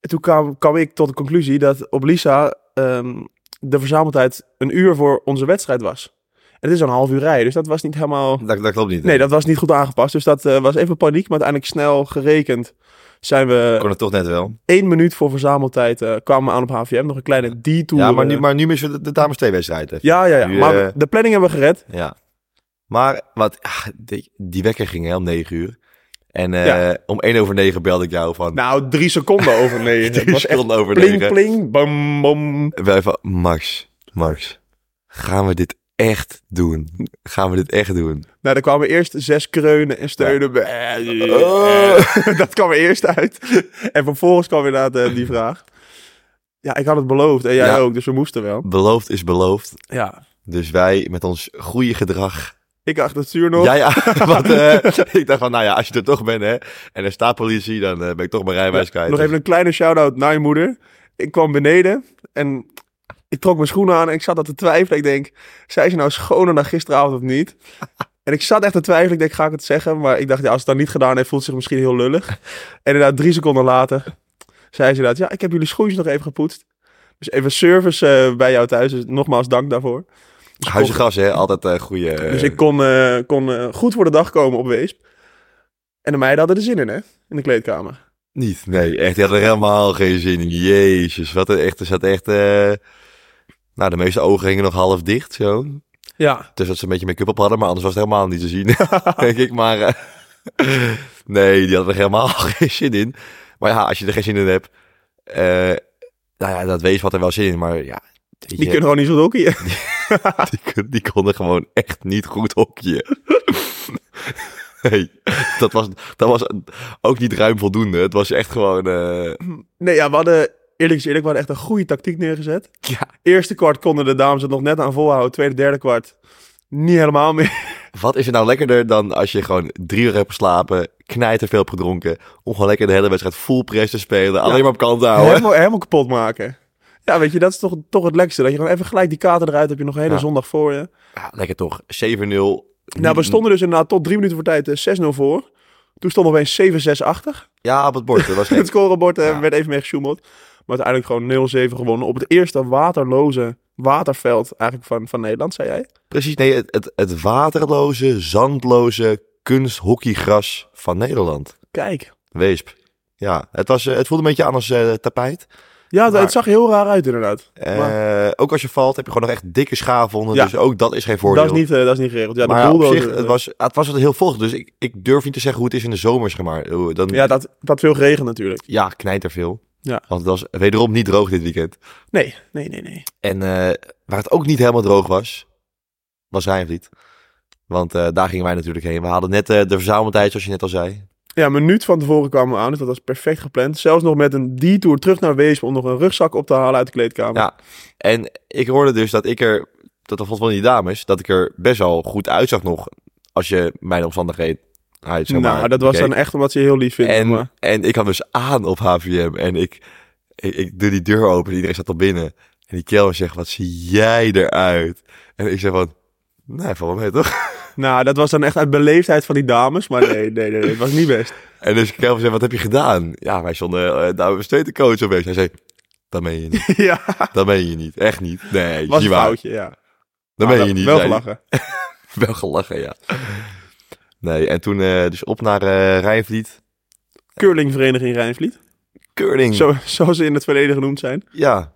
Speaker 3: En toen kwam, kwam ik tot de conclusie dat op Lisa ehm, de verzameltijd een uur voor onze wedstrijd was. En het is al een half uur rijden, dus dat was niet helemaal...
Speaker 2: Dat, dat klopt niet.
Speaker 3: Nee, dat was niet goed aangepast. Dus dat eh, was even paniek. Maar uiteindelijk snel gerekend zijn we
Speaker 2: kon het toch net wel.
Speaker 3: één minuut voor verzameltijd eh, kwamen we aan op HVM. Nog een kleine detour.
Speaker 2: Ja, maar nu,
Speaker 3: eh.
Speaker 2: maar nu missen we de, de dames twee wedstrijd. even.
Speaker 3: ja, ja, ja.
Speaker 2: Nu,
Speaker 3: maar
Speaker 2: eh,
Speaker 3: de planning hebben we gered.
Speaker 2: Ja. Maar wat, ah, die, die wekker ging hè, om negen uur. En eh,
Speaker 3: Ja.
Speaker 2: om één over negen belde ik jou van...
Speaker 3: Nou, drie seconden
Speaker 2: <laughs>
Speaker 3: over <laughs> negen.
Speaker 2: het
Speaker 3: Het was echt
Speaker 2: over
Speaker 3: pling,
Speaker 2: negen.
Speaker 3: pling, bam, bam.
Speaker 2: Wij van, Max, Max, gaan we dit echt doen? Gaan we dit echt doen?
Speaker 3: Nou, er kwamen eerst zes kreunen en steunen.
Speaker 2: Oh.
Speaker 3: <laughs> Dat kwam er eerst uit. En vervolgens kwam inderdaad eh, die vraag. Ja, ik had het beloofd. En jij
Speaker 2: Ja.
Speaker 3: ook, dus we moesten wel.
Speaker 2: Beloofd is beloofd.
Speaker 3: Ja.
Speaker 2: Dus wij met ons goede gedrag.
Speaker 3: Ik achter het stuur nog.
Speaker 2: Ja, ja.
Speaker 3: <laughs>
Speaker 2: Want, eh, ik dacht van, nou ja, als je er toch bent, hè. En er staat politie, dan eh, ben ik toch mijn rijbewijs kwijt.
Speaker 3: Nog even een kleine shout-out naar je moeder. Ik kwam beneden en ik trok mijn schoenen aan en ik zat aan te twijfelen. Ik denk, zijn ze nou schoner dan gisteravond of niet? En ik zat echt te twijfelen. Ik denk, ga ik het zeggen? Maar ik dacht, ja, als het dan niet gedaan heeft, voelt het zich misschien heel lullig. En inderdaad, drie seconden later zei ze dat. Ja, ik heb jullie schoentjes nog even gepoetst. Dus even service eh, bij jou thuis. Dus nogmaals dank daarvoor. Dus ik
Speaker 2: Huizen
Speaker 3: kon,
Speaker 2: gas, hè. Altijd eh goede... eh,
Speaker 3: dus ik kon, eh, kon eh, goed voor de dag komen op Weesp. En de meiden hadden er zin in, hè? In de kleedkamer.
Speaker 2: Niet, nee, echt. Die had er helemaal geen zin in. Jezus, wat een echt. Er zat echt. eh, Nou, de meeste ogen hingen nog half dicht zo.
Speaker 3: Ja,
Speaker 2: Dus dat ze een beetje make-up op hadden, maar anders was het helemaal niet te zien. <laughs> denk ik, maar. eh, nee, die hadden er helemaal <laughs> geen zin in. Maar ja, als je er geen zin in hebt. eh, nou ja, dat wees wat er wel zin in, maar ja. weet
Speaker 3: Die
Speaker 2: je,
Speaker 3: kunnen gewoon niet zo hockeyen.
Speaker 2: <laughs> die, kon- die konden gewoon echt niet goed hokje. <laughs> Nee, dat was, dat was ook niet ruim voldoende. Het was echt gewoon. eh,
Speaker 3: Nee, ja, we hadden, eerlijk is eerlijk, we hadden echt een goede tactiek neergezet.
Speaker 2: ja,
Speaker 3: Eerste kwart konden de dames het nog net aan volhouden. Tweede, derde kwart niet helemaal meer.
Speaker 2: Wat is er nou lekkerder dan als je gewoon drie uur hebt geslapen, knijter veel hebt gedronken, om gewoon lekker de hele wedstrijd full press te spelen, alleen maar op kant te houden?
Speaker 3: Helemaal, helemaal kapot maken. Ja, weet je, dat is toch, toch het lekkerste. Dat je gewoon even gelijk die kater eruit hebt. Heb je nog een hele
Speaker 2: Ja.
Speaker 3: zondag voor je.
Speaker 2: Ja, lekker toch, 7-0.
Speaker 3: Nou,
Speaker 2: Mm.
Speaker 3: we stonden dus inderdaad tot drie minuten voor tijd eh, 6-0 voor. Toen stond opeens 7-6 achter. <laughs>
Speaker 2: Ja, op het bord, dat was
Speaker 3: Het <laughs>
Speaker 2: gek.
Speaker 3: scorebord eh,
Speaker 2: Ja.
Speaker 3: werd even mee gesjoemeld. Maar uiteindelijk gewoon 0-7 gewonnen. Op het eerste waterloze waterveld eigenlijk van, van Nederland, zei jij.
Speaker 2: Precies, nee, het, het, het waterloze, zandloze kunsthockeygras van Nederland.
Speaker 3: Kijk.
Speaker 2: Weesp. Ja, het, was, eh, het voelde een beetje aan als eh, tapijt.
Speaker 3: Ja, het-
Speaker 2: Maar-
Speaker 3: het zag er heel raar uit inderdaad.
Speaker 2: Eh,
Speaker 3: Maar-
Speaker 2: ook als je valt heb je gewoon nog echt dikke schaven onder,
Speaker 3: Ja.
Speaker 2: dus ook dat is geen voordeel.
Speaker 3: Dat is niet, eh, dat is niet geregeld. Ja, de eh.
Speaker 2: maar ja, op
Speaker 3: bulldozer.
Speaker 2: zich, het was, het was heel vochtig, dus ik, ik durf niet te zeggen hoe het is in de zomer, zeg maar. Hoe- Dan,
Speaker 3: ja dat, dat veel regen natuurlijk.
Speaker 2: Ja, knijt er veel.
Speaker 3: Ja.
Speaker 2: Want het was wederom niet droog dit weekend.
Speaker 3: Nee, nee, nee, nee.
Speaker 2: En eh, waar het ook niet helemaal droog was, was Rijnvliet. Want eh, daar gingen wij natuurlijk heen. We hadden net eh, de verzameltijd, zoals je net al zei.
Speaker 3: Ja, een minuut van tevoren kwamen we aan, dus dat was perfect gepland. Zelfs nog met een detour terug naar Weesp om nog een rugzak op te halen uit de kleedkamer.
Speaker 2: Ja. En ik hoorde dus dat ik er, dat was van die dames, dat ik er best wel goed uitzag nog. Als je mijn omstandigheden uit, zeg
Speaker 3: nou,
Speaker 2: maar,
Speaker 3: dat was
Speaker 2: bekeek.
Speaker 3: dan echt omdat ze je heel lief vindt.
Speaker 2: En,
Speaker 3: maar-
Speaker 2: en ik kwam dus aan op HVM en ik, ik, ik doe die deur open en iedereen staat al binnen. En die kelner zegt, wat zie jij eruit? En ik zeg van, nee, valt wel mee toch?
Speaker 3: Nou, dat was dan echt uit beleefdheid van die dames. Maar nee, nee, nee, nee het was niet
Speaker 2: <laughs>
Speaker 3: best.
Speaker 2: En dus Kelvin zei, wat heb je gedaan? Ja, wij stonden uh, nou, een coach of Hij zei, dat meen je niet.
Speaker 3: <laughs> ja,
Speaker 2: Dat meen je niet. Echt niet. Nee,
Speaker 3: was
Speaker 2: niet
Speaker 3: een
Speaker 2: waar.
Speaker 3: foutje, ja.
Speaker 2: Dat
Speaker 3: Maar
Speaker 2: meen je niet.
Speaker 3: Wel
Speaker 2: zei hij.
Speaker 3: gelachen.
Speaker 2: <laughs> wel gelachen, ja. Nee, en toen eh, dus op naar eh Rijnvliet.
Speaker 3: Curlingvereniging Rijnvliet.
Speaker 2: Curling.
Speaker 3: Zo, zoals ze in het verleden genoemd zijn. <laughs>
Speaker 2: Ja.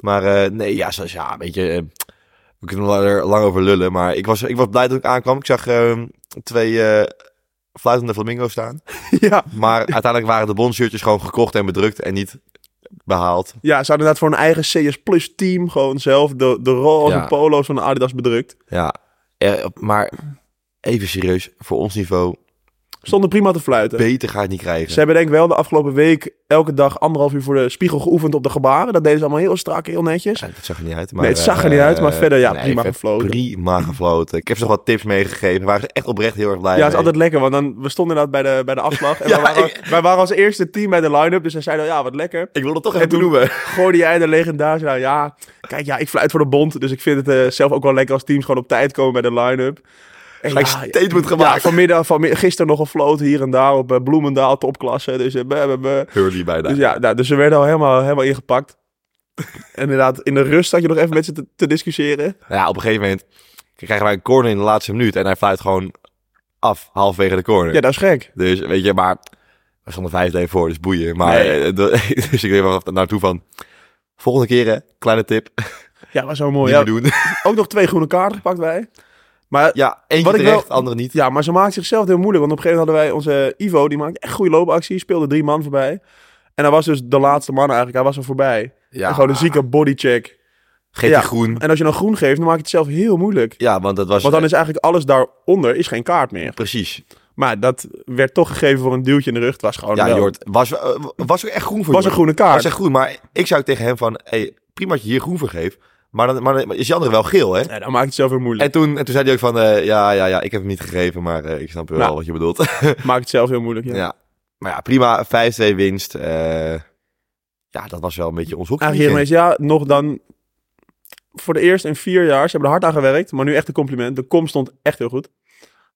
Speaker 2: Maar eh, nee, ja, zoals, ja, weet je... eh, we kunnen er lang- lang over lullen, maar ik was, ik was blij dat ik aankwam. Ik zag eh, twee eh, fluitende flamingo's staan.
Speaker 3: ja.
Speaker 2: <laughs> Maar uiteindelijk waren de bondshirtjes gewoon gekocht en bedrukt en niet behaald.
Speaker 3: ja, ze hadden inderdaad voor een eigen CS Plus team gewoon zelf de, de roze
Speaker 2: Ja.
Speaker 3: polo's van de Adidas bedrukt.
Speaker 2: Ja, eh, maar even serieus, voor ons niveau,
Speaker 3: Stonden prima te fluiten.
Speaker 2: beter ga je het niet krijgen.
Speaker 3: Ze hebben denk ik wel de afgelopen week elke dag anderhalf uur voor de spiegel geoefend op de gebaren. Dat deden ze allemaal heel strak, heel netjes.
Speaker 2: Ja, dat zag er niet uit. Maar,
Speaker 3: Nee, het zag er niet
Speaker 2: eh,
Speaker 3: uit, maar verder, ja,
Speaker 2: nee,
Speaker 3: prima
Speaker 2: ik heb
Speaker 3: gefloten.
Speaker 2: <laughs> Prima gefloten. Ik heb ze nog wat tips meegegeven. Daar waren ze echt oprecht heel erg blij
Speaker 3: Ja, het is
Speaker 2: mee.
Speaker 3: altijd lekker, want dan, we stonden inderdaad bij de, bij de afslag. En
Speaker 2: <laughs> Ja,
Speaker 3: wij, waren als, wij waren als eerste team bij de line-up, dus hij zei dan, ja, wat lekker.
Speaker 2: Ik wil het toch
Speaker 3: En
Speaker 2: even
Speaker 3: toen-
Speaker 2: <laughs> noemen.
Speaker 3: Gooide jij de legendarische, nou ja, kijk, ja, ik fluit voor de bond. Dus ik vind het eh, zelf ook wel lekker als teams gewoon op tijd komen bij de line-up. En
Speaker 2: Gelijk
Speaker 3: ja,
Speaker 2: statement
Speaker 3: ja,
Speaker 2: gemaakt.
Speaker 3: vanmiddag, vanmiddag, gisteren nog gefloten hier en daar op eh, Bloemendaal, topklasse. Dus, eh, buh, buh, buh.
Speaker 2: Hurley bijna.
Speaker 3: dus ja, nou, dus ze werden al helemaal, helemaal ingepakt. <laughs> En inderdaad, in de rust had je nog even met ze te, te discussiëren.
Speaker 2: Nou ja, op een gegeven moment krijgen wij een corner in de laatste minuut. En hij fluit gewoon af, halverwege de corner.
Speaker 3: Ja, dat is gek.
Speaker 2: Dus weet je, maar we stonden vijf één voor, dus boeien. Maar,
Speaker 3: Nee.
Speaker 2: eh, dat- <laughs> dus ik weet wel naartoe van, volgende keer, hè, kleine tip, niet
Speaker 3: Ja, was zo mooi.
Speaker 2: meer
Speaker 3: Ja,
Speaker 2: doen.
Speaker 3: ook nog twee groene kaarten gepakt wij. Maar
Speaker 2: Ja, <laughs> eentje
Speaker 3: Wat ik
Speaker 2: terecht,
Speaker 3: wel-
Speaker 2: andere niet.
Speaker 3: Ja, maar ze maakten zichzelf heel moeilijk. Want op een gegeven moment hadden wij onze eh, Ivo, die maakte echt goede loopactie. Speelde drie man voorbij. En hij was dus de laatste man eigenlijk. Hij was er voorbij.
Speaker 2: Ja.
Speaker 3: En gewoon een zieke bodycheck.
Speaker 2: Geef
Speaker 3: Ja.
Speaker 2: die groen.
Speaker 3: En als je dan groen geeft, dan maak je het zelf heel moeilijk.
Speaker 2: Ja, want dat was...
Speaker 3: Want dan is eigenlijk alles daaronder is geen kaart meer.
Speaker 2: Precies.
Speaker 3: Maar dat werd toch gegeven voor een duwtje in de rug. Het was gewoon
Speaker 2: Ja,
Speaker 3: Oh, wel-
Speaker 2: Jord, was, eh, was ook echt groen voor
Speaker 3: was
Speaker 2: Jord.
Speaker 3: een groene
Speaker 2: Hij
Speaker 3: kaart.
Speaker 2: zegt groen, maar ik zou tegen hem van... Hey, prima dat je hier groen voor geeft, maar dan, maar dan is die andere wel geel, hè?
Speaker 3: Ja, dan maakt het zelf heel moeilijk.
Speaker 2: En toen, en toen zei hij ook van... eh, ja, ja, ja, ik heb hem niet gegeven, maar eh, ik snap wel
Speaker 3: Nou.
Speaker 2: wat je bedoelt.
Speaker 3: Maakt het zelf heel moeilijk, ja.
Speaker 2: <laughs> ja. Maar ja, prima. 5-2 winst. eh, ja, dat was wel een beetje ons hoekje.
Speaker 3: Eigenlijk Nou, hiermee is ja, nog dan... Voor de eerst in vier jaar, ze hebben er hard aan gewerkt. Maar nu echt een compliment. De kom stond echt heel goed.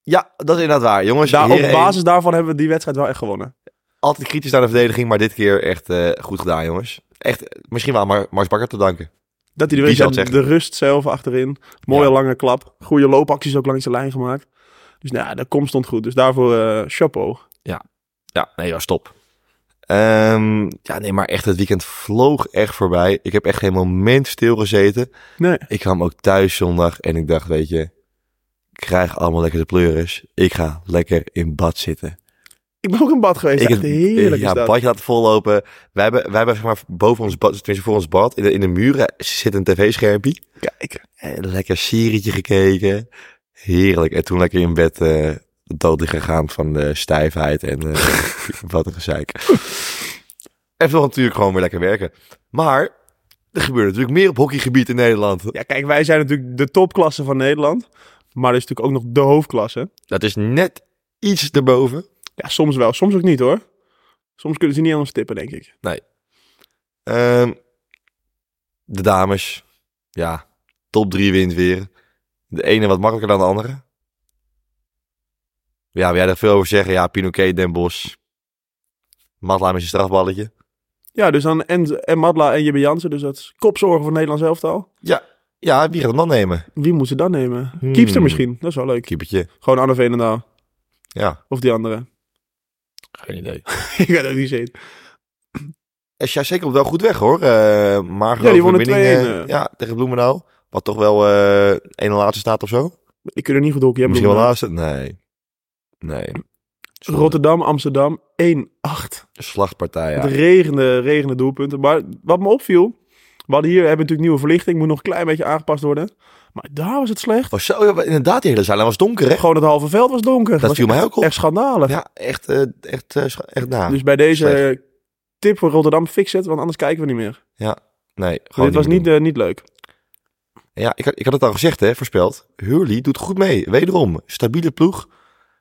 Speaker 2: Ja, dat is inderdaad waar. Jongens,
Speaker 3: Daar, Nou, op
Speaker 2: heren,
Speaker 3: basis daarvan hebben we die wedstrijd wel echt gewonnen.
Speaker 2: altijd kritisch naar de verdediging, maar dit keer echt eh, goed gedaan, jongens. Echt, eh, misschien wel aan Mar Mars Bakker te danken.
Speaker 3: Dat hij
Speaker 2: Wie
Speaker 3: er weer
Speaker 2: zou
Speaker 3: is.
Speaker 2: het
Speaker 3: En de rust zelf achterin. Mooie
Speaker 2: Ja.
Speaker 3: lange klap. Goede loopacties ook langs de lijn gemaakt. Dus nou ja, de kom stond goed. Dus daarvoor eh, chapeau.
Speaker 2: Ja, nee, was top. Ehm, ja, nee, maar echt, het weekend vloog echt voorbij. Ik heb echt geen moment stilgezeten.
Speaker 3: Nee.
Speaker 2: Ik kwam ook thuis zondag en ik dacht, weet je, ik krijg allemaal lekker de pleuris. Ik ga lekker in bad zitten.
Speaker 3: Ik ben ook in bad geweest.
Speaker 2: ik
Speaker 3: Echt heerlijk
Speaker 2: ja,
Speaker 3: is dat.
Speaker 2: badje laten vollopen. Wij hebben, wij hebben zeg maar boven ons bad, tenminste voor ons bad, in de, in de muren zit een tv-schermpje.
Speaker 3: Kijk.
Speaker 2: En een lekker serietje gekeken. Heerlijk. En toen lekker in bed eh dood gegaan van de stijfheid en
Speaker 3: <laughs>
Speaker 2: eh, wat een gezeik. En toch natuurlijk gewoon weer lekker werken. Maar er gebeurt natuurlijk meer op hockeygebied in Nederland.
Speaker 3: Ja, kijk, wij zijn natuurlijk de topklasse van Nederland. Maar er is natuurlijk ook nog de hoofdklasse.
Speaker 2: Dat is net iets erboven.
Speaker 3: Ja, soms wel. Soms ook niet hoor. Soms kunnen ze niet aan ons tippen, denk ik.
Speaker 2: Ehm, de dames. Ja, top drie wint weer. De ene wat makkelijker dan de andere. Ja, wil jij daar veel over zeggen? Ja, Pinoquet, Den Bosch. Matla met zijn strafballetje.
Speaker 3: Ja, dus dan en, en Madla en Jibbe Jansen. Dus dat is kopzorgen voor Nederland zelf al.
Speaker 2: Ja, wie gaat hem dan nemen?
Speaker 3: Wie moet ze dan nemen?
Speaker 2: Hmm.
Speaker 3: Kiepster misschien. Dat is wel leuk.
Speaker 2: Keepertje.
Speaker 3: Gewoon Anne Veenendaal.
Speaker 2: Ja.
Speaker 3: Of die andere. <laughs>
Speaker 2: Geen <laughs> idee.
Speaker 3: ik weet ook niet zeker.
Speaker 2: En ja, zeker op wel goed weg hoor. Eh maar
Speaker 3: Ja, die wonnen 2-1, eh.
Speaker 2: ja, tegen Bloemendaal. Wat toch wel eh een laatste staat of zo.
Speaker 3: Ik kan er niet goed hockey hebben.
Speaker 2: Misschien wel laatste? Nee. Nee. Zonde.
Speaker 3: Rotterdam, Amsterdam, 1-8.
Speaker 2: Slachtpartij, ja.
Speaker 3: Het regende, regende doelpunten. Maar wat me opviel, we hadden hier we hebben natuurlijk nieuwe verlichting, moet nog een klein beetje aangepast worden. Maar daar was het slecht.
Speaker 2: Was zo, ja, inderdaad, die hele zaal was donker, hè?
Speaker 3: Gewoon het halve veld was donker.
Speaker 2: Dat
Speaker 3: was
Speaker 2: viel mij
Speaker 3: echt-
Speaker 2: ook op.
Speaker 3: Echt schandalig.
Speaker 2: Ja, echt, eh, echt, eh, scha- echt na.
Speaker 3: dus bij deze
Speaker 2: slecht.
Speaker 3: tip voor Rotterdam, fix het, want anders kijken we niet meer. Dus
Speaker 2: nee,
Speaker 3: Dit
Speaker 2: gewoon
Speaker 3: was
Speaker 2: meer
Speaker 3: niet, eh, niet leuk.
Speaker 2: doen. Ja, ik had, ik had het al gezegd, hè, voorspeld. Hurley doet goed mee. Wederom, stabiele ploeg.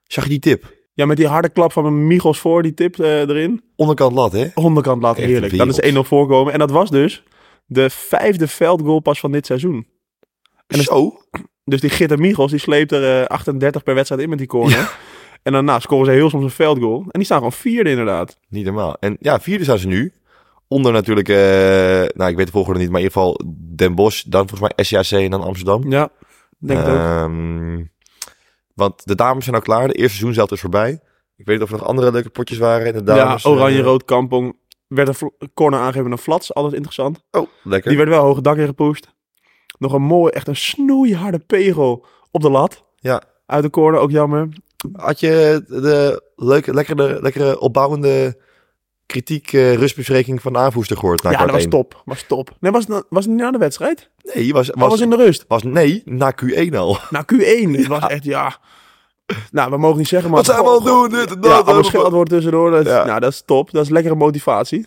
Speaker 2: Zag je die tip?
Speaker 3: Ja, met die harde klap van Michels voor, die tip eh, erin.
Speaker 2: Onderkant lat, hè?
Speaker 3: Onderkant laten,
Speaker 2: Echt
Speaker 3: heerlijk. Dan is
Speaker 2: wereld.
Speaker 3: 1-0 voorkomen. En dat was dus de vijfde veldgoalpas van dit seizoen. En
Speaker 2: En
Speaker 3: het-
Speaker 2: zo?
Speaker 3: Dus die Gitter Michels, die sleept er eh, 38 per wedstrijd in met die corner. En daarna scoren ze heel soms een veldgoal. En die staan gewoon vierde inderdaad.
Speaker 2: Niet normaal. En ja, vierde staan ze nu. Onder natuurlijk, eh, nou ik weet de volgorde niet, maar in ieder geval Den Bosch, dan volgens mij SJC en dan Amsterdam.
Speaker 3: Ja, denk ik ook.
Speaker 2: Ehm, Want de dames zijn al klaar. De eerste seizoen zelf is voorbij. Ik weet niet of er nog andere leuke potjes waren. En de
Speaker 3: Ja,
Speaker 2: dames, eh,
Speaker 3: oranje-rood Kampong. Werd een fl- corner aangegeven naar Flats. Alles interessant.
Speaker 2: Oh, lekker.
Speaker 3: Die werd wel hoog het dak ingepoest. Nog een mooie, echt een snoeiharde pegel op de lat.
Speaker 2: Ja.
Speaker 3: Uit de corner, ook jammer.
Speaker 2: Had je de leuke, lekkere, lekkere opbouwende kritiek, eh, rustbespreking van de aanvoerster gehoord? Na
Speaker 3: ja,
Speaker 2: kwart
Speaker 3: dat was
Speaker 2: één?
Speaker 3: top. Was top. Nee, was, het na- was het niet na de wedstrijd?
Speaker 2: Nee, was,
Speaker 3: Was,
Speaker 2: was,
Speaker 3: was in de rust.
Speaker 2: was nee, na Q1 al.
Speaker 3: Nou,
Speaker 2: <laughs>
Speaker 3: Q1. Het was echt, ja... Nou, we mogen niet zeggen, maar...
Speaker 2: Wat zijn we
Speaker 3: Goh,
Speaker 2: aan het doen?
Speaker 3: goh,
Speaker 2: Dit en dat.
Speaker 3: Ja, allemaal scheldwoord tussendoor. Dat,
Speaker 2: Ja.
Speaker 3: Nou, dat is top. Dat is lekkere motivatie.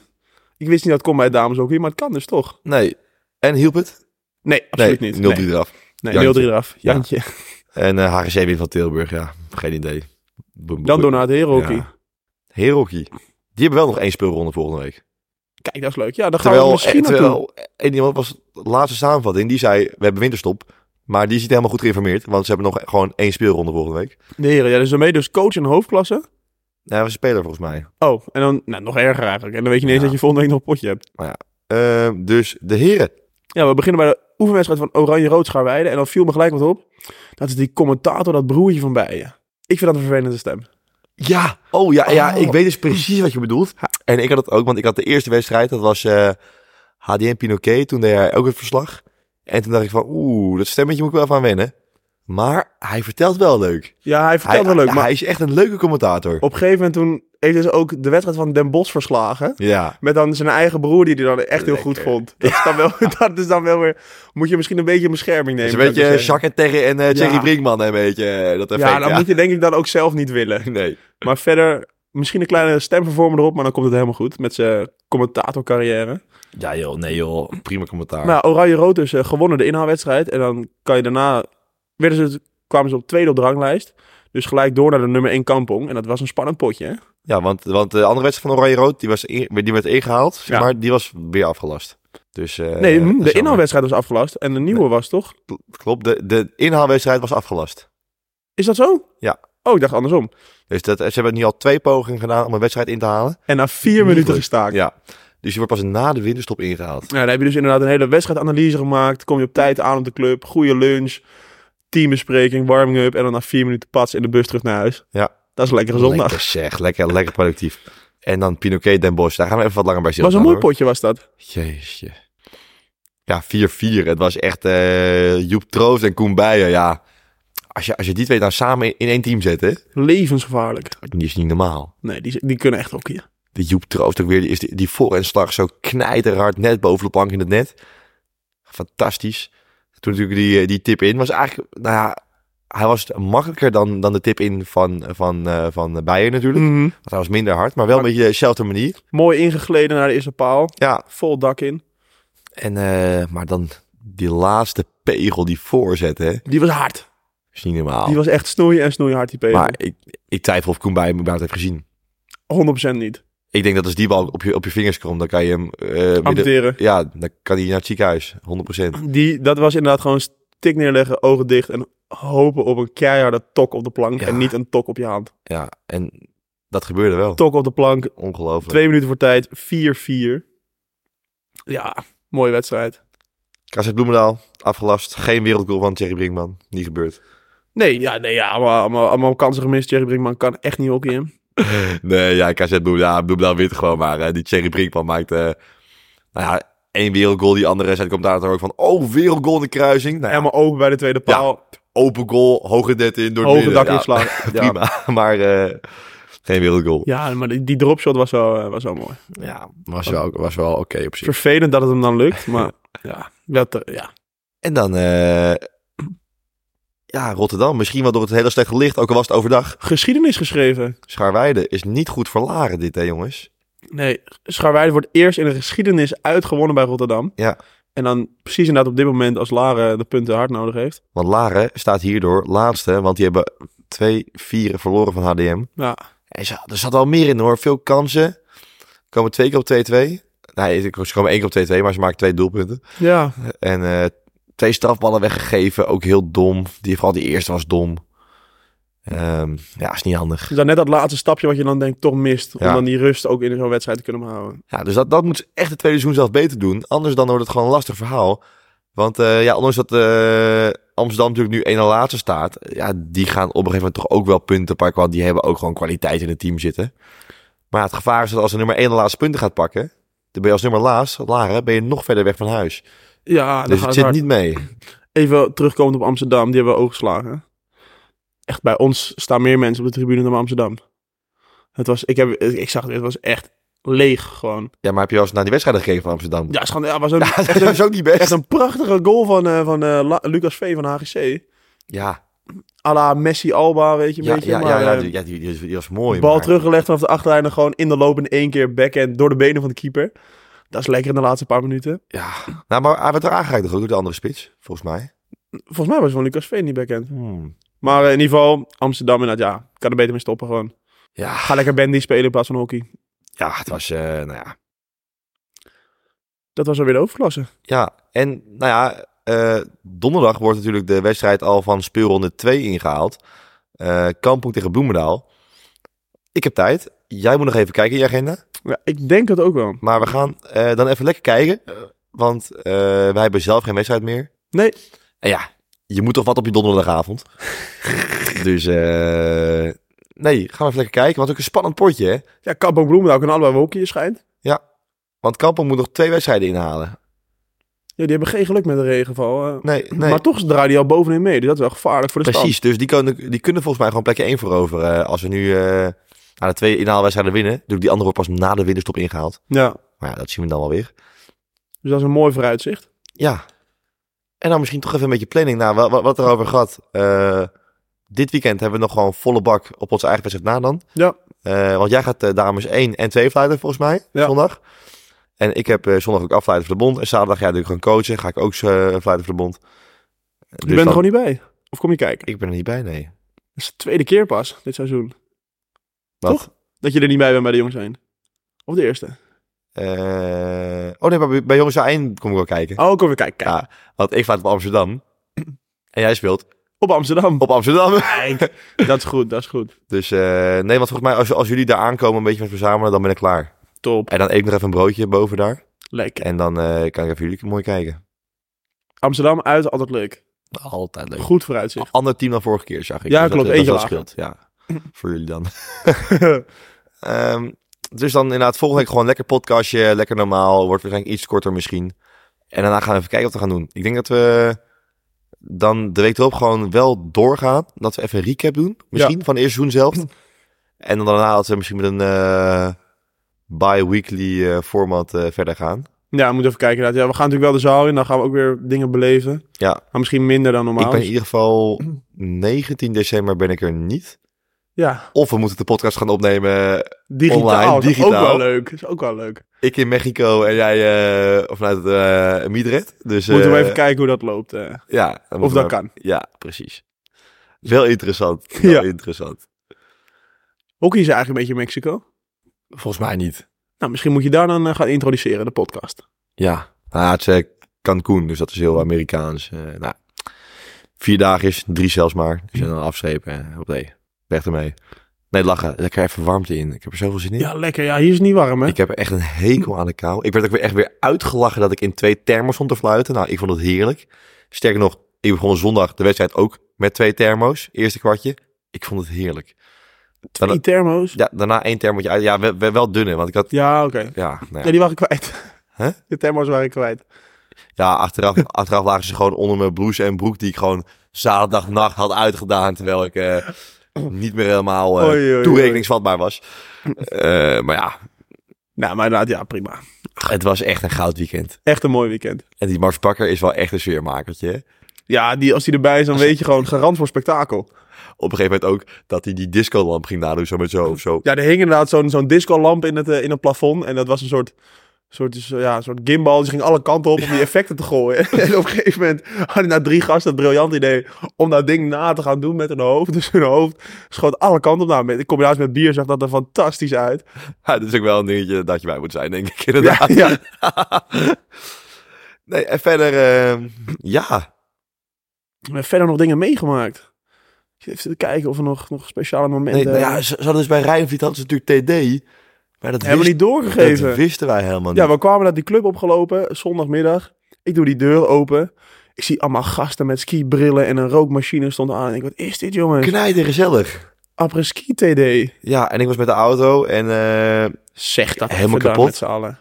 Speaker 3: Ik wist niet dat het kon bij de dames ook hier, maar het kan dus toch?
Speaker 2: Nee. En hielp het?
Speaker 3: Nee, absoluut
Speaker 2: nee, 0-3
Speaker 3: niet. Nee,
Speaker 2: eraf.
Speaker 3: nee
Speaker 2: Jantje.
Speaker 3: 0-3 eraf.
Speaker 2: Ja.
Speaker 3: Jantje.
Speaker 2: En eh HGC weer van Tilburg, ja. Geen idee.
Speaker 3: Dan door naar het herenhockey.
Speaker 2: Ja. Heerhockey. Die hebben wel nog één speelronde volgende week.
Speaker 3: Kijk, dat is leuk. Ja, dan gaan we
Speaker 2: Terwijl,
Speaker 3: misschien
Speaker 2: eh,
Speaker 3: naartoe.
Speaker 2: terwijl en iemand was de laatste samenvatting, die zei, we hebben winterstop. Maar die is niet helemaal goed geïnformeerd, want ze hebben nog gewoon één speelronde volgende week.
Speaker 3: De heren, ja, dus daarmee dus coach en hoofdklasse.
Speaker 2: Ja, hij was een speler volgens mij.
Speaker 3: Oh, en dan nou, nog erger eigenlijk. En dan weet je niet eens
Speaker 2: Ja.
Speaker 3: dat je volgende week nog een potje hebt.
Speaker 2: Eh, dus de heren.
Speaker 3: Ja, we beginnen bij de oefenwedstrijd van Oranje-Rood Schaarweide. En dan viel me gelijk wat op. Dat is die commentator, dat broertje van Bijen. Ik vind dat een vervelende stem.
Speaker 2: Ja, oh ja, ja
Speaker 3: Oh.
Speaker 2: ik weet dus precies wat je bedoelt. En ik had het ook, want ik had de eerste wedstrijd, dat was eh, HDM Pinoquet. Toen deed hij ook het verslag. En toen dacht ik van, oeh, dat stemmetje moet ik wel even aan wennen. Maar hij vertelt wel leuk.
Speaker 3: Ja, hij
Speaker 2: Hij,
Speaker 3: vertelt wel leuk.
Speaker 2: hij-
Speaker 3: Maar
Speaker 2: hij is echt een leuke commentator.
Speaker 3: op een gegeven moment toen heeft hij dus ook de wedstrijd van Den Bosch verslagen.
Speaker 2: Ja.
Speaker 3: Met dan zijn eigen broer die hij dan echt heel
Speaker 2: Lekker.
Speaker 3: goed vond. Dat is, dan wel, <laughs> dat is dan wel weer... Moet je misschien een beetje een bescherming
Speaker 2: Dus
Speaker 3: nemen.
Speaker 2: een
Speaker 3: zou ik
Speaker 2: beetje
Speaker 3: zeggen.
Speaker 2: Jacques en Terry en eh Thierry
Speaker 3: Ja.
Speaker 2: Brinkman, een beetje. eh, Dat effect,
Speaker 3: Ja, dan moet je denk ik dan ook zelf niet
Speaker 2: <laughs>
Speaker 3: willen.
Speaker 2: Nee.
Speaker 3: Maar verder, misschien een kleine stemvervormer erop, maar dan komt het helemaal goed met zijn commentatorcarrière.
Speaker 2: Ja joh, nee joh. Prima commentaar.
Speaker 3: Nou, Oranje-Rood dus eh, gewonnen de inhaalwedstrijd. En dan kan je daarna, werden ze, kwamen ze op tweede op de ranglijst. Dus gelijk door naar de nummer 1 Kampong. En dat was een spannend potje, hè?
Speaker 2: Ja, want, want de andere wedstrijd van Oranje-Rood, die, was in- die werd ingehaald, zeg
Speaker 3: Ja.
Speaker 2: maar die was weer afgelast. Dus, eh,
Speaker 3: Nee, hm,
Speaker 2: dat is
Speaker 3: de
Speaker 2: jammer.
Speaker 3: inhaalwedstrijd was afgelast en de nieuwe was toch?
Speaker 2: Klopt, de, de inhaalwedstrijd was afgelast.
Speaker 3: Is dat zo?
Speaker 2: Ja.
Speaker 3: Oh, ik dacht andersom.
Speaker 2: Dus dat, ze hebben nu al twee pogingen gedaan om een wedstrijd in te halen.
Speaker 3: En na vier
Speaker 2: Niet
Speaker 3: minuten
Speaker 2: leuk.
Speaker 3: gestaakt. Ja.
Speaker 2: Ja. Dus die wordt pas na de winterstop ingehaald.
Speaker 3: Nou, dan heb je dus inderdaad een hele wedstrijdanalyse gemaakt. Kom je op tijd aan op de club, goede lunch, teambespreking, warming-up. En dan na vier minuten pats in de bus terug naar huis.
Speaker 2: Ja.
Speaker 3: Dat is een lekkere zondag.
Speaker 2: Lekker zeg, lekker, lekker productief. En dan Pinoquet Den Bosch, daar gaan we even wat langer bij
Speaker 3: Het
Speaker 2: zitten.
Speaker 3: was een mooi potje, was dat.
Speaker 2: Jeetje. Ja, 4-4. Het was echt eh, Joep Troost en Koen Beijer, ja. Als je, als je die twee dan samen in, in één team zet, hè,
Speaker 3: Levensgevaarlijk.
Speaker 2: die is niet normaal.
Speaker 3: Nee, die, die kunnen echt hockeyen.
Speaker 2: De Joep Troost ook weer, die, is die, die voor en slag zo knijterhard net boven de plank in het net. Fantastisch. Toen natuurlijk die, eh, die tip in was eigenlijk, nou ja, hij was makkelijker dan, dan de tip in van, van, eh, van Beijer natuurlijk. Want hij was minder hard, maar wel een beetje dezelfde manier.
Speaker 3: Mooi ingegleden naar de eerste paal.
Speaker 2: Ja,
Speaker 3: Vol dak in.
Speaker 2: en, eh, maar dan die laatste pegel die voorzet, hè.
Speaker 3: Die was hard.
Speaker 2: Is niet normaal.
Speaker 3: Die was echt snoeien en snoeien hard, die pegel.
Speaker 2: Maar ik, ik twijfel of Koen bij hem überhaupt heeft gezien.
Speaker 3: 100% niet.
Speaker 2: Ik denk dat als die bal op je, op je vingers komt, dan kan je hem... eh, midden-
Speaker 3: Amputeren.
Speaker 2: ja, dan kan hij naar het ziekenhuis. 100%.
Speaker 3: Die, dat was inderdaad gewoon stik neerleggen, ogen dicht en hopen op een keiharde tok op de plank.
Speaker 2: Ja.
Speaker 3: En niet een tok op je hand.
Speaker 2: Ja, en dat gebeurde wel.
Speaker 3: Tok op de plank.
Speaker 2: Ongelooflijk.
Speaker 3: Twee minuten voor tijd. 4-4. Ja, mooie wedstrijd.
Speaker 2: KZ Bloemendaal, afgelast. Geen wereldgoal van Thierry Brinkman. Niet gebeurd.
Speaker 3: Nee, ja, nee, ja allemaal, allemaal, allemaal kansen gemist. Jerry Brinkman kan echt niet hockeyen.
Speaker 2: <laughs> Nee, ja, KZ Bloemendaal, Bloemendaal wint gewoon maar. hè. die Thierry Brinkman maakt... eh, nou ja, één wereldgoal. Die andere zijn komt daar ook van... Oh, wereldgoal in de kruising. Nou ja,
Speaker 3: Helemaal open bij de tweede paal.
Speaker 2: open goal, hoge net in, door het
Speaker 3: Hoge
Speaker 2: midden.
Speaker 3: dak inslaan. Ja.
Speaker 2: Prima, <laughs> maar eh, geen wereldgoal.
Speaker 3: Ja, maar die, die dropshot was wel, eh, was wel mooi.
Speaker 2: Ja, was wel, was wel oké op zich.
Speaker 3: Vervelend dat het hem dan
Speaker 2: <laughs>
Speaker 3: lukt, maar ja. Dat, eh, ja.
Speaker 2: En dan, eh, ja, Rotterdam. Misschien wel door het hele slechte licht, ook al was het overdag.
Speaker 3: Geschiedenis geschreven.
Speaker 2: Schaarweide is niet goed voor Laren dit, hè jongens.
Speaker 3: Nee, Schaarweide wordt eerst in de geschiedenis uitgewonnen bij Rotterdam.
Speaker 2: Ja.
Speaker 3: En dan precies inderdaad op dit moment als Laren de punten hard nodig heeft.
Speaker 2: Want Laren staat hierdoor laatste, want die hebben twee vieren verloren van HDM.
Speaker 3: Ja,
Speaker 2: En ze- er zat wel meer in hoor, veel kansen. Komen twee keer op 2-2. Nee, ze komen één keer op 2-2, maar ze maken twee doelpunten.
Speaker 3: ja.
Speaker 2: En eh, Twee strafballen weggegeven, ook heel dom. Die, vooral die eerste was dom. Ehm, ja, is niet handig.
Speaker 3: Dus dan net dat laatste stapje wat je dan denkt toch mist. Om
Speaker 2: Ja.
Speaker 3: dan die rust ook in zo'n wedstrijd te kunnen houden.
Speaker 2: Ja, dus dat, dat moet ze echt het tweede seizoen zelf beter doen. Anders dan wordt het gewoon een lastig verhaal. Want eh, ja, ondanks dat eh, Amsterdam natuurlijk nu één na laatste staat. Ja, die gaan op een gegeven moment toch ook wel punten pakken. Want die hebben ook gewoon kwaliteit in het team zitten. Maar ja, het gevaar is dat als de nummer één de laatste punten gaat pakken. Dan ben je als nummer laatst, lager, ben je nog verder weg van huis.
Speaker 3: Ja, dan
Speaker 2: dus het
Speaker 3: gaat het
Speaker 2: zit
Speaker 3: hard.
Speaker 2: niet mee.
Speaker 3: Even terugkomend op Amsterdam, die hebben we ooggeslagen. Echt, bij ons staan meer mensen op de tribune dan bij Amsterdam. Het was, ik, heb, ik zag het, het was echt leeg gewoon.
Speaker 2: Ja, maar heb je wel eens naar die wedstrijden gekeken van Amsterdam?
Speaker 3: Ja, het is gewoon- ja, het was een,
Speaker 2: <laughs> Ja,
Speaker 3: echt,
Speaker 2: dat
Speaker 3: een,
Speaker 2: is ook niet best.
Speaker 3: echt een prachtige goal van, eh, van eh, La- Lucas V van HGC.
Speaker 2: Ja,
Speaker 3: A la Messi Alba, weet je, een
Speaker 2: ja,
Speaker 3: beetje.
Speaker 2: ja,
Speaker 3: maar,
Speaker 2: ja, ja,
Speaker 3: eh,
Speaker 2: die, ja, die, die was, die was mooi.
Speaker 3: bal
Speaker 2: maar-
Speaker 3: teruggelegd vanaf de achterlijn en gewoon in de loop in één keer backhand door de benen van de keeper. Dat is lekker in de laatste paar minuten.
Speaker 2: Ja. Nou, maar hij werd er aangereikt toch ook door de andere spits, volgens mij.
Speaker 3: Volgens mij was van Lucas V niet backhand. Maar eh, in ieder geval, Amsterdam inderdaad, ja, kan er beter mee stoppen gewoon.
Speaker 2: Ja,
Speaker 3: Ga lekker bandy spelen in plaats van hockey.
Speaker 2: ja, het was, eh, nou ja.
Speaker 3: Dat was alweer de overklasse.
Speaker 2: Ja, en nou ja, eh, donderdag wordt natuurlijk de wedstrijd al van speelronde 2 ingehaald. Eh Kampong tegen Bloemendaal. Ik heb tijd. Jij moet nog even kijken in je agenda.
Speaker 3: Ja, ik denk dat ook wel.
Speaker 2: Maar we gaan eh, dan even lekker kijken. eh, Want eh, wij hebben zelf geen wedstrijd meer.
Speaker 3: Nee.
Speaker 2: En ja, je moet toch wat op je donderdagavond. <laughs> dus eh, nee, gaan we even lekker kijken. Want ook een spannend potje, hè?
Speaker 3: Ja, Kampong Bloemendaal kan allebei wel hockeyen schijnt.
Speaker 2: Want Kampong moet nog twee wedstrijden inhalen.
Speaker 3: Ja, die hebben geen geluk met de regenval. eh.
Speaker 2: Nee, nee.
Speaker 3: Maar toch draaien die al bovenin mee. Dus dat is wel gevaarlijk voor de stand.
Speaker 2: Precies, dus die kunnen, die kunnen volgens mij gewoon plekje 1 veroveren. eh, als we nu eh aan de twee inhaalwedstrijden winnen. Natuurlijk, die andere wordt pas na de winterstop ingehaald.
Speaker 3: Ja,
Speaker 2: Maar ja, dat zien we dan wel weer.
Speaker 3: dus dat is een mooi vooruitzicht.
Speaker 2: Ja. En dan misschien toch even een beetje planning. Nou, wat, wat, wat erover gehad. Eh, dit weekend hebben we nog gewoon volle bak op onze eigen wedstrijd na dan.
Speaker 3: Ja.
Speaker 2: Eh, want jij gaat eh, dames 1 en 2 fluiten volgens mij,
Speaker 3: Ja.
Speaker 2: zondag. En ik heb eh, zondag ook afluiten voor de bond. En zaterdag ga natuurlijk gewoon coachen. Ga ik ook eh fluiten voor de bond. Dus
Speaker 3: Je bent er gewoon niet bij. Of kom je kijken?
Speaker 2: Ik ben er niet bij, nee.
Speaker 3: Dat is de tweede keer pas dit seizoen.
Speaker 2: Wat?
Speaker 3: Toch? Dat je er niet bij bent bij de jongens heen. Of de eerste.
Speaker 2: Eh, oh nee, maar bij- bij Jongens Eind kom ik wel kijken.
Speaker 3: Oh, kom weer kijken. Kijk.
Speaker 2: Ja, want ik vaart op Amsterdam. En jij speelt
Speaker 3: Op Amsterdam.
Speaker 2: op Amsterdam. <laughs>
Speaker 3: Dat is goed, dat is goed.
Speaker 2: Dus eh, nee, want volgens mij als, als jullie daar aankomen een beetje met verzamelen, dan ben ik klaar.
Speaker 3: Top.
Speaker 2: En dan eet ik nog even een broodje boven daar.
Speaker 3: Lekker.
Speaker 2: En dan eh, kan ik even jullie mooi kijken.
Speaker 3: Amsterdam uit, altijd leuk.
Speaker 2: Altijd leuk.
Speaker 3: Goed vooruitzicht.
Speaker 2: Ander team dan vorige keer, zag ik.
Speaker 3: Ja,
Speaker 2: Dus Dat,
Speaker 3: klopt,
Speaker 2: dat,
Speaker 3: eentje
Speaker 2: dat
Speaker 3: lager.
Speaker 2: scheelt, ja. Voor jullie
Speaker 3: <laughs>
Speaker 2: dan. Ehm, dus dan inderdaad volgende week gewoon lekker podcastje, lekker normaal. Wordt waarschijnlijk iets korter misschien. En daarna gaan we even kijken wat we gaan doen. Ik denk dat we dan de week erop gewoon wel doorgaan. Dat we even een recap doen, misschien, van het eerste seizoen zelf. En dan daarna dat we misschien met een eh bi-weekly eh, format eh, verder gaan.
Speaker 3: Ja, we moeten even kijken. inderdaad. Ja, we gaan natuurlijk wel de zaal in. Dan gaan we ook weer dingen beleven.
Speaker 2: Ja.
Speaker 3: Maar misschien minder dan normaal.
Speaker 2: ik ben in ieder geval 19 december ben ik er niet.
Speaker 3: Ja,
Speaker 2: Of we moeten de podcast gaan opnemen
Speaker 3: digitaal.
Speaker 2: Online,
Speaker 3: Dat is
Speaker 2: digitaal. Dus,
Speaker 3: Ook wel leuk. Is ook wel leuk.
Speaker 2: Ik in Mexico en jij eh, vanuit eh Miedrecht. Dus,
Speaker 3: Moeten we
Speaker 2: eh,
Speaker 3: even kijken hoe dat loopt. eh.
Speaker 2: Ja, dan
Speaker 3: of
Speaker 2: moeten we-
Speaker 3: dat kan.
Speaker 2: Ja, precies. Wel interessant.
Speaker 3: <laughs>
Speaker 2: Wel
Speaker 3: Ja.
Speaker 2: interessant.
Speaker 3: Hockey is eigenlijk een beetje Mexico.
Speaker 2: Volgens mij niet.
Speaker 3: Nou, misschien moet je daar dan eh, gaan introduceren, de podcast.
Speaker 2: Ja. Nou, ja, het is eh, Cancún, dus dat is heel Amerikaans. Eh, nou, vier dagen is, drie zelfs maar. Dus dan afstrepen. eh, Op nee, weg ermee. Nee, lachen. Lekker even warmte in. Ik heb er zoveel zin in.
Speaker 3: Ja, lekker. Ja, hier is het niet warm, hè?
Speaker 2: Ik heb er echt een hekel aan de kou. Ik werd ook weer echt weer uitgelachen dat ik in twee termo's stond te fluiten. Nou, ik vond het heerlijk. Sterker nog, ik begon zondag de wedstrijd ook met twee thermo's. Eerste kwartje. Ik vond het heerlijk.
Speaker 3: Twee
Speaker 2: dan-
Speaker 3: thermo's.
Speaker 2: Ja, daarna één thermootje uit. Ja, we- we- wel dunne, want ik had...
Speaker 3: Ja, oké.
Speaker 2: Ja, nou
Speaker 3: Ja,
Speaker 2: ja.
Speaker 3: die waren kwijt.
Speaker 2: Hè?
Speaker 3: De thermo's waren kwijt.
Speaker 2: ja
Speaker 3: <laughs>
Speaker 2: achteraf, achteraf lagen ze gewoon onder mijn blouse en broek... die ik gewoon zaterdagnacht had uitgedaan... terwijl ik eh, niet meer helemaal eh,
Speaker 3: Oei, oei, oei.
Speaker 2: toerekeningsvatbaar was. Eh, maar ja,
Speaker 3: Nou, maar inderdaad, ja, prima.
Speaker 2: het was echt een goud weekend.
Speaker 3: Echt een mooi weekend.
Speaker 2: En die Mars Bakker is wel echt een sfeermakertje, hè?
Speaker 3: Ja, die, als die erbij is, dan weet je gewoon garant voor spektakel.
Speaker 2: op een gegeven moment ook dat hij die discolamp ging nadoen, zo met zo of zo.
Speaker 3: Ja, er hing inderdaad zo'n zo'n discolamp in het, eh, in het plafond. En dat was een soort, soort, dus, eh, ja, een soort gimbal. Die ging alle kanten op om die effecten te gooien. <laughs> en op een gegeven moment hadden na drie gasten het briljant idee om dat ding na te gaan doen met hun hoofd. Dus hun hoofd schoot alle kanten op. Nou, met- in combinatie met bier zag dat er fantastisch uit.
Speaker 2: Ja, dat is ook wel een dingetje dat je bij moet zijn, denk ik, inderdaad.
Speaker 3: Ja, ja.
Speaker 2: Nee, en verder, eh, ja.
Speaker 3: We hebben verder nog dingen meegemaakt. Ik zit even te kijken of er nog, nog speciale
Speaker 2: Nee,
Speaker 3: momenten...
Speaker 2: nou ja, ze ze hadden dus bij Rijnvliet hadden ze natuurlijk TD. Maar dat,
Speaker 3: hebben we
Speaker 2: wist-
Speaker 3: niet doorgegeven.
Speaker 2: dat wisten wij helemaal niet.
Speaker 3: Ja, we kwamen naar die club opgelopen, zondagmiddag. Ik doe die deur open. Ik zie allemaal gasten met skibrillen en een rookmachine stond aan. En ik, wat is dit jongens?
Speaker 2: Knijden gezellig.
Speaker 3: Après-ski TD.
Speaker 2: Ja, en ik was met de auto en eh,
Speaker 3: Zeg dat
Speaker 2: Helemaal
Speaker 3: even daar
Speaker 2: kapot.
Speaker 3: met z'n allen.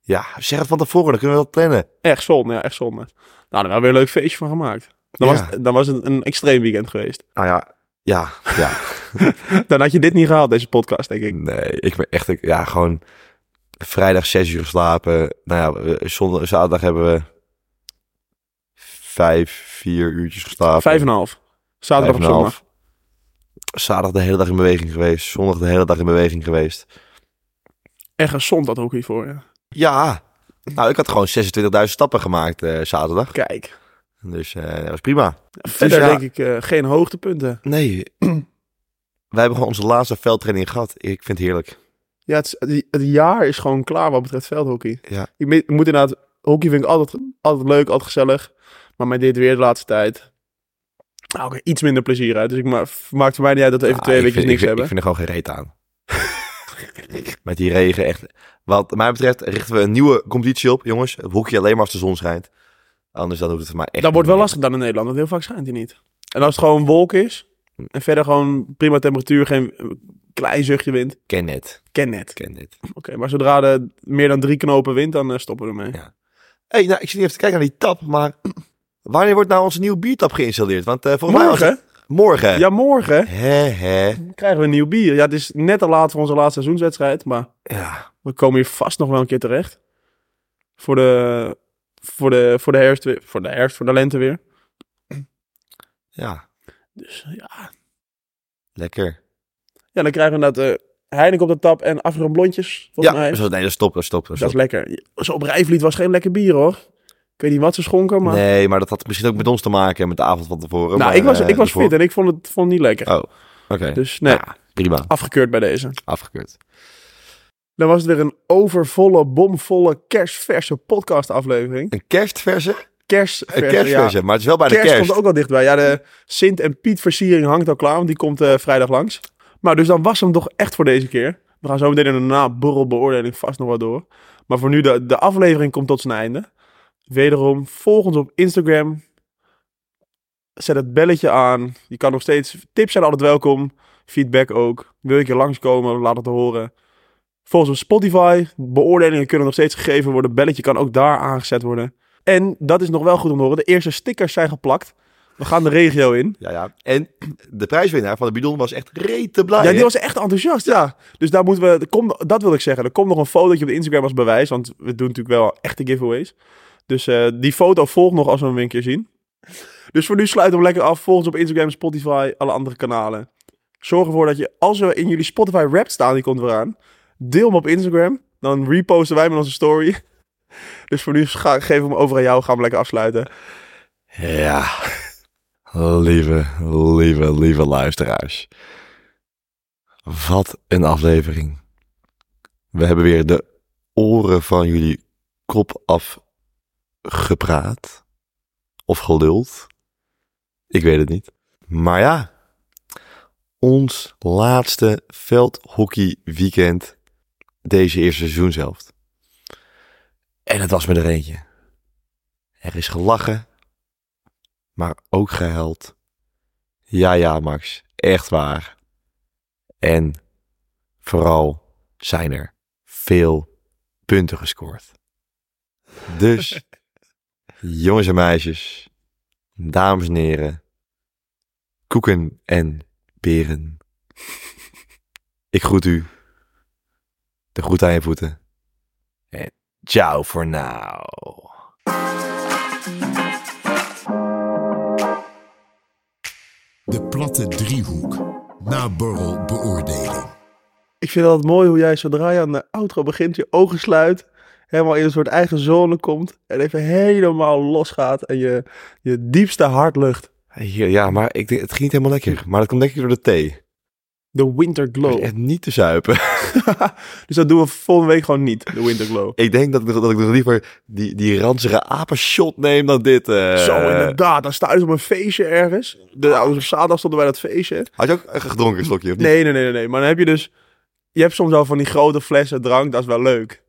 Speaker 2: ja, zeg het van tevoren, dan kunnen we dat plannen.
Speaker 3: Echt zonde, ja, echt zonde. Nou, daar hebben we weer een leuk feestje van gemaakt. Dan
Speaker 2: Ja.
Speaker 3: was, het- dan was het een extreem weekend geweest. <laughs>
Speaker 2: Nou ja, ja, ja.
Speaker 3: Dan had je dit niet gehaald, deze podcast, denk ik.
Speaker 2: nee, ik ben echt, ja, gewoon vrijdag zes uur slapen. Nou ja, we- zondag, zaterdag hebben we vijf, vier uurtjes geslapen.
Speaker 3: Vijf en een half. Zaterdag
Speaker 2: Vijf
Speaker 3: op
Speaker 2: en een
Speaker 3: zondag.
Speaker 2: half. Zaterdag de hele dag in beweging geweest. Zondag de hele dag in beweging geweest.
Speaker 3: Echt gezond dat hockey voor je.
Speaker 2: Ja, nou, ik had gewoon 26.000 stappen gemaakt eh, zaterdag.
Speaker 3: Kijk.
Speaker 2: Dus eh, dat was prima.
Speaker 3: Verder
Speaker 2: ja.
Speaker 3: denk ik eh, geen hoogtepunten.
Speaker 2: Nee. <clears throat> Wij hebben gewoon onze laatste veldtraining gehad. Ik vind het heerlijk.
Speaker 3: Ja, het, is- het- het jaar is gewoon klaar wat betreft veldhockey.
Speaker 2: Ja.
Speaker 3: Ik me- moet inderdaad, hockey vind ik altijd, altijd leuk, altijd gezellig. Maar met dit weer de laatste tijd, nou, ik er iets minder plezier uit. Dus ik ma maakt voor mij niet uit dat we even
Speaker 2: Ah,
Speaker 3: twee
Speaker 2: ik
Speaker 3: weken
Speaker 2: vind-
Speaker 3: niks
Speaker 2: ik vind-
Speaker 3: hebben.
Speaker 2: Ik vind er gewoon geen reet aan. <laughs> Met die regen echt. Wat mij betreft richten we een nieuwe competitie op, jongens. Het hoekje alleen maar als de zon schijnt. Anders dan hoeft het voor mij echt
Speaker 3: dat wordt
Speaker 2: niet
Speaker 3: wel
Speaker 2: meer.
Speaker 3: lastig dan in Nederland, want heel vaak schijnt hij niet. En als het gewoon wolk is, en verder gewoon prima temperatuur, geen eh, klein zuchtje wind,
Speaker 2: Ken het.
Speaker 3: ken net.
Speaker 2: Ken het.
Speaker 3: Oké, maar zodra de meer dan drie knopen wint, dan eh, stoppen we ermee.
Speaker 2: Ja. hey, nou, ik zit niet even te kijken naar die tap, maar... <clears throat> Wanneer wordt nou onze nieuwe biertap geïnstalleerd? Want eh, volgens mij... was het-
Speaker 3: Morgen,
Speaker 2: Morgen.
Speaker 3: ja morgen,
Speaker 2: Hè, hè.
Speaker 3: krijgen we een nieuw bier. Ja, het is net te laat voor onze laatste seizoenswedstrijd, maar...
Speaker 2: Ja.
Speaker 3: We komen hier vast nog wel een keer terecht. Voor de, voor de, voor de herfst, weer- voor de herfst, voor de lente weer.
Speaker 2: Ja.
Speaker 3: Dus ja.
Speaker 2: Lekker.
Speaker 3: Ja, dan krijgen we inderdaad eh Heinek op de tap en Afro Blondjes, volgens
Speaker 2: ja.
Speaker 3: mij.
Speaker 2: Zo, nee, dat stopt, dat stopt, dat
Speaker 3: Dat is
Speaker 2: stopt.
Speaker 3: lekker. Zo op Rijvliet was geen lekker bier, hoor. Ik weet niet wat ze schonken, maar...
Speaker 2: Nee, maar dat had misschien ook met ons te maken, met de avond van tevoren.
Speaker 3: nou,
Speaker 2: maar,
Speaker 3: ik was,
Speaker 2: eh,
Speaker 3: ik was
Speaker 2: ervoor.
Speaker 3: fit en ik vond het, vond het niet lekker.
Speaker 2: Oh, oké.
Speaker 3: Dus nee,
Speaker 2: Ja, prima.
Speaker 3: afgekeurd bij deze.
Speaker 2: Afgekeurd.
Speaker 3: Dan was het weer een overvolle, bomvolle, kerstverse podcastaflevering.
Speaker 2: Een kerstverse?
Speaker 3: Kerstverse,
Speaker 2: Een
Speaker 3: ja.
Speaker 2: kerstverse, maar het is wel bijna
Speaker 3: kerst,
Speaker 2: kerst.
Speaker 3: komt ook al dichtbij. Ja, de Sint en Piet versiering hangt al klaar, want die komt eh, vrijdag langs. Maar dus dan was hem toch echt voor deze keer. We gaan zo meteen in de naborrelbeoordeling vast nog wat door. Maar voor nu, de, de aflevering komt tot zijn einde. Wederom, volg ons op Instagram. Zet het belletje aan. Je kan nog steeds... Tips zijn altijd welkom. Feedback ook. Wil ik je langskomen, laat het horen. Volgens op Spotify. Beoordelingen kunnen nog steeds gegeven worden. Belletje kan ook daar aangezet worden. En dat is nog wel goed om te horen. De eerste stickers zijn geplakt. We gaan de regio in.
Speaker 2: Ja, ja. En de prijswinnaar van de bidon was echt rete blij.
Speaker 3: Ah, Ja,
Speaker 2: hè?
Speaker 3: die was echt enthousiast, ja. Dus daar moeten we... er komt- dat wil ik zeggen. Er komt nog een fotootje op de Instagram als bewijs. Want we doen natuurlijk wel echte giveaways. Dus eh, die foto volgt nog als we hem weer een keer zien. Dus voor nu sluit hem lekker af. Volg ons op Instagram, Spotify, alle andere kanalen. Zorg ervoor dat je, als we in jullie Spotify rap staan, die komt weer aan. Deel hem op Instagram. Dan reposten wij met onze story. <laughs> Dus voor nu ga, geef hem over aan jou. Gaan we lekker afsluiten.
Speaker 2: Ja. Lieve, lieve, lieve luisteraars. Wat een aflevering. We hebben weer de oren van jullie kop af gepraat. Of geluld. Ik weet het niet. Maar ja. Ons laatste veldhockeyweekend deze eerste seizoenshelft. En het was me er eentje. Er is gelachen maar ook gehuild. Ja, ja, Max, echt waar. En vooral zijn er veel punten gescoord. Dus, jongens en meisjes, dames en heren, koeken en beren. Ik groet u. De groet aan je voeten. En ciao voor now.
Speaker 1: De platte driehoek. Naborrel beoordeling.
Speaker 3: Ik vind het altijd mooi hoe jij zodra je aan de outro begint, je ogen sluit, helemaal in een soort eigen zone komt en even helemaal losgaat en je, je diepste hart lucht.
Speaker 2: Hier, ja, maar ik, denk- het ging niet helemaal lekker. Maar dat komt denk ik door de thee.
Speaker 3: De Winter Glow.
Speaker 2: Echt niet te zuipen.
Speaker 3: <laughs>
Speaker 2: <laughs>
Speaker 3: Dus dat doen we volgende week gewoon niet, de Winter Glow.
Speaker 2: ik denk dat ik, nog- dat ik nog liever die, die ranzige apenshot neem dan dit. eh. Ah.
Speaker 3: Zo inderdaad, dan sta je dus op een feestje ergens. De, op zaterdag stonden wij dat feestje.
Speaker 2: Had je ook een gedronken een slokje of niet?
Speaker 3: Nee, nee, nee, nee, nee. Maar dan heb je dus... Je hebt soms al van die grote flessen drank, dat is wel leuk.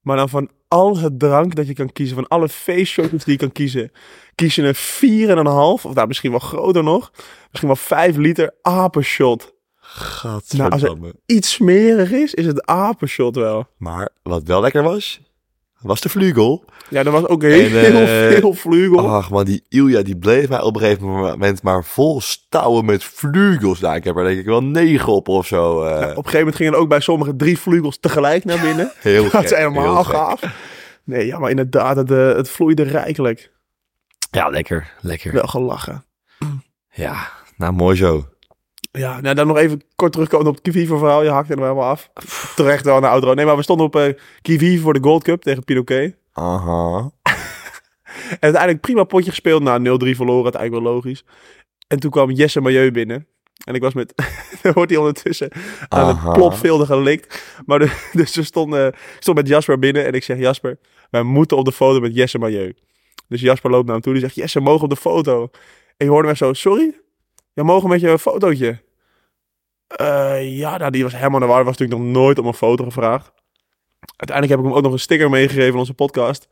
Speaker 3: Maar dan van al het drank dat je kan kiezen, van alle feestshotjes die je kan kiezen, kies je een 4,5, of nou, misschien wel groter nog, misschien wel 5 liter apenshot. Nou, als
Speaker 2: Gadverdamme.
Speaker 3: het iets smerig is, is het apenshot wel.
Speaker 2: Maar wat wel lekker was, was de vlugel.
Speaker 3: Ja, dat was ook heel,
Speaker 2: eh,
Speaker 3: veel vlugel.
Speaker 2: Ach man, die Ilja die bleef mij op een gegeven moment maar vol stouwen met vlugels. Nou, ik heb er denk ik wel negen op of zo. eh.
Speaker 3: op een gegeven moment gingen er ook bij sommigen drie vlugels tegelijk naar binnen.
Speaker 2: heel
Speaker 3: dat
Speaker 2: gek,
Speaker 3: is helemaal
Speaker 2: heel gek.
Speaker 3: gaaf. Nee, ja, maar inderdaad, het, eh, het vloeide rijkelijk.
Speaker 2: Ja, lekker, lekker.
Speaker 3: Wel gelachen.
Speaker 2: Ja, nou mooi zo.
Speaker 3: Ja, nou dan nog even kort terugkomen op het Kivivo verhaal. Je hakt er nog helemaal af. Terecht wel naar de outro. Nee, maar we stonden op eh Kivivo voor de Gold Cup tegen Pinoquet.
Speaker 2: Aha.
Speaker 3: En uiteindelijk prima potje gespeeld. Na 0-3 verloren, het eigenlijk wel logisch. En toen kwam Jesse Majeu binnen. En ik was met... <laughs> daar wordt hij ondertussen aan
Speaker 2: Aha.
Speaker 3: het plopveelde gelikt. Maar de- <laughs> dus we stonden, ik stond met Jasper binnen. En ik zeg, Jasper, wij moeten op de foto met Jesse Majeu. Dus Jasper loopt naar hem toe. Die zegt, Jesse, mogen we op de foto? En je hoorde mij zo, sorry? Ja, mogen we met je een fotootje? Eh, ja, nou, die was helemaal naar waar. Was natuurlijk nog nooit om een foto gevraagd. Uiteindelijk heb ik hem ook nog een sticker meegegeven in onze podcast.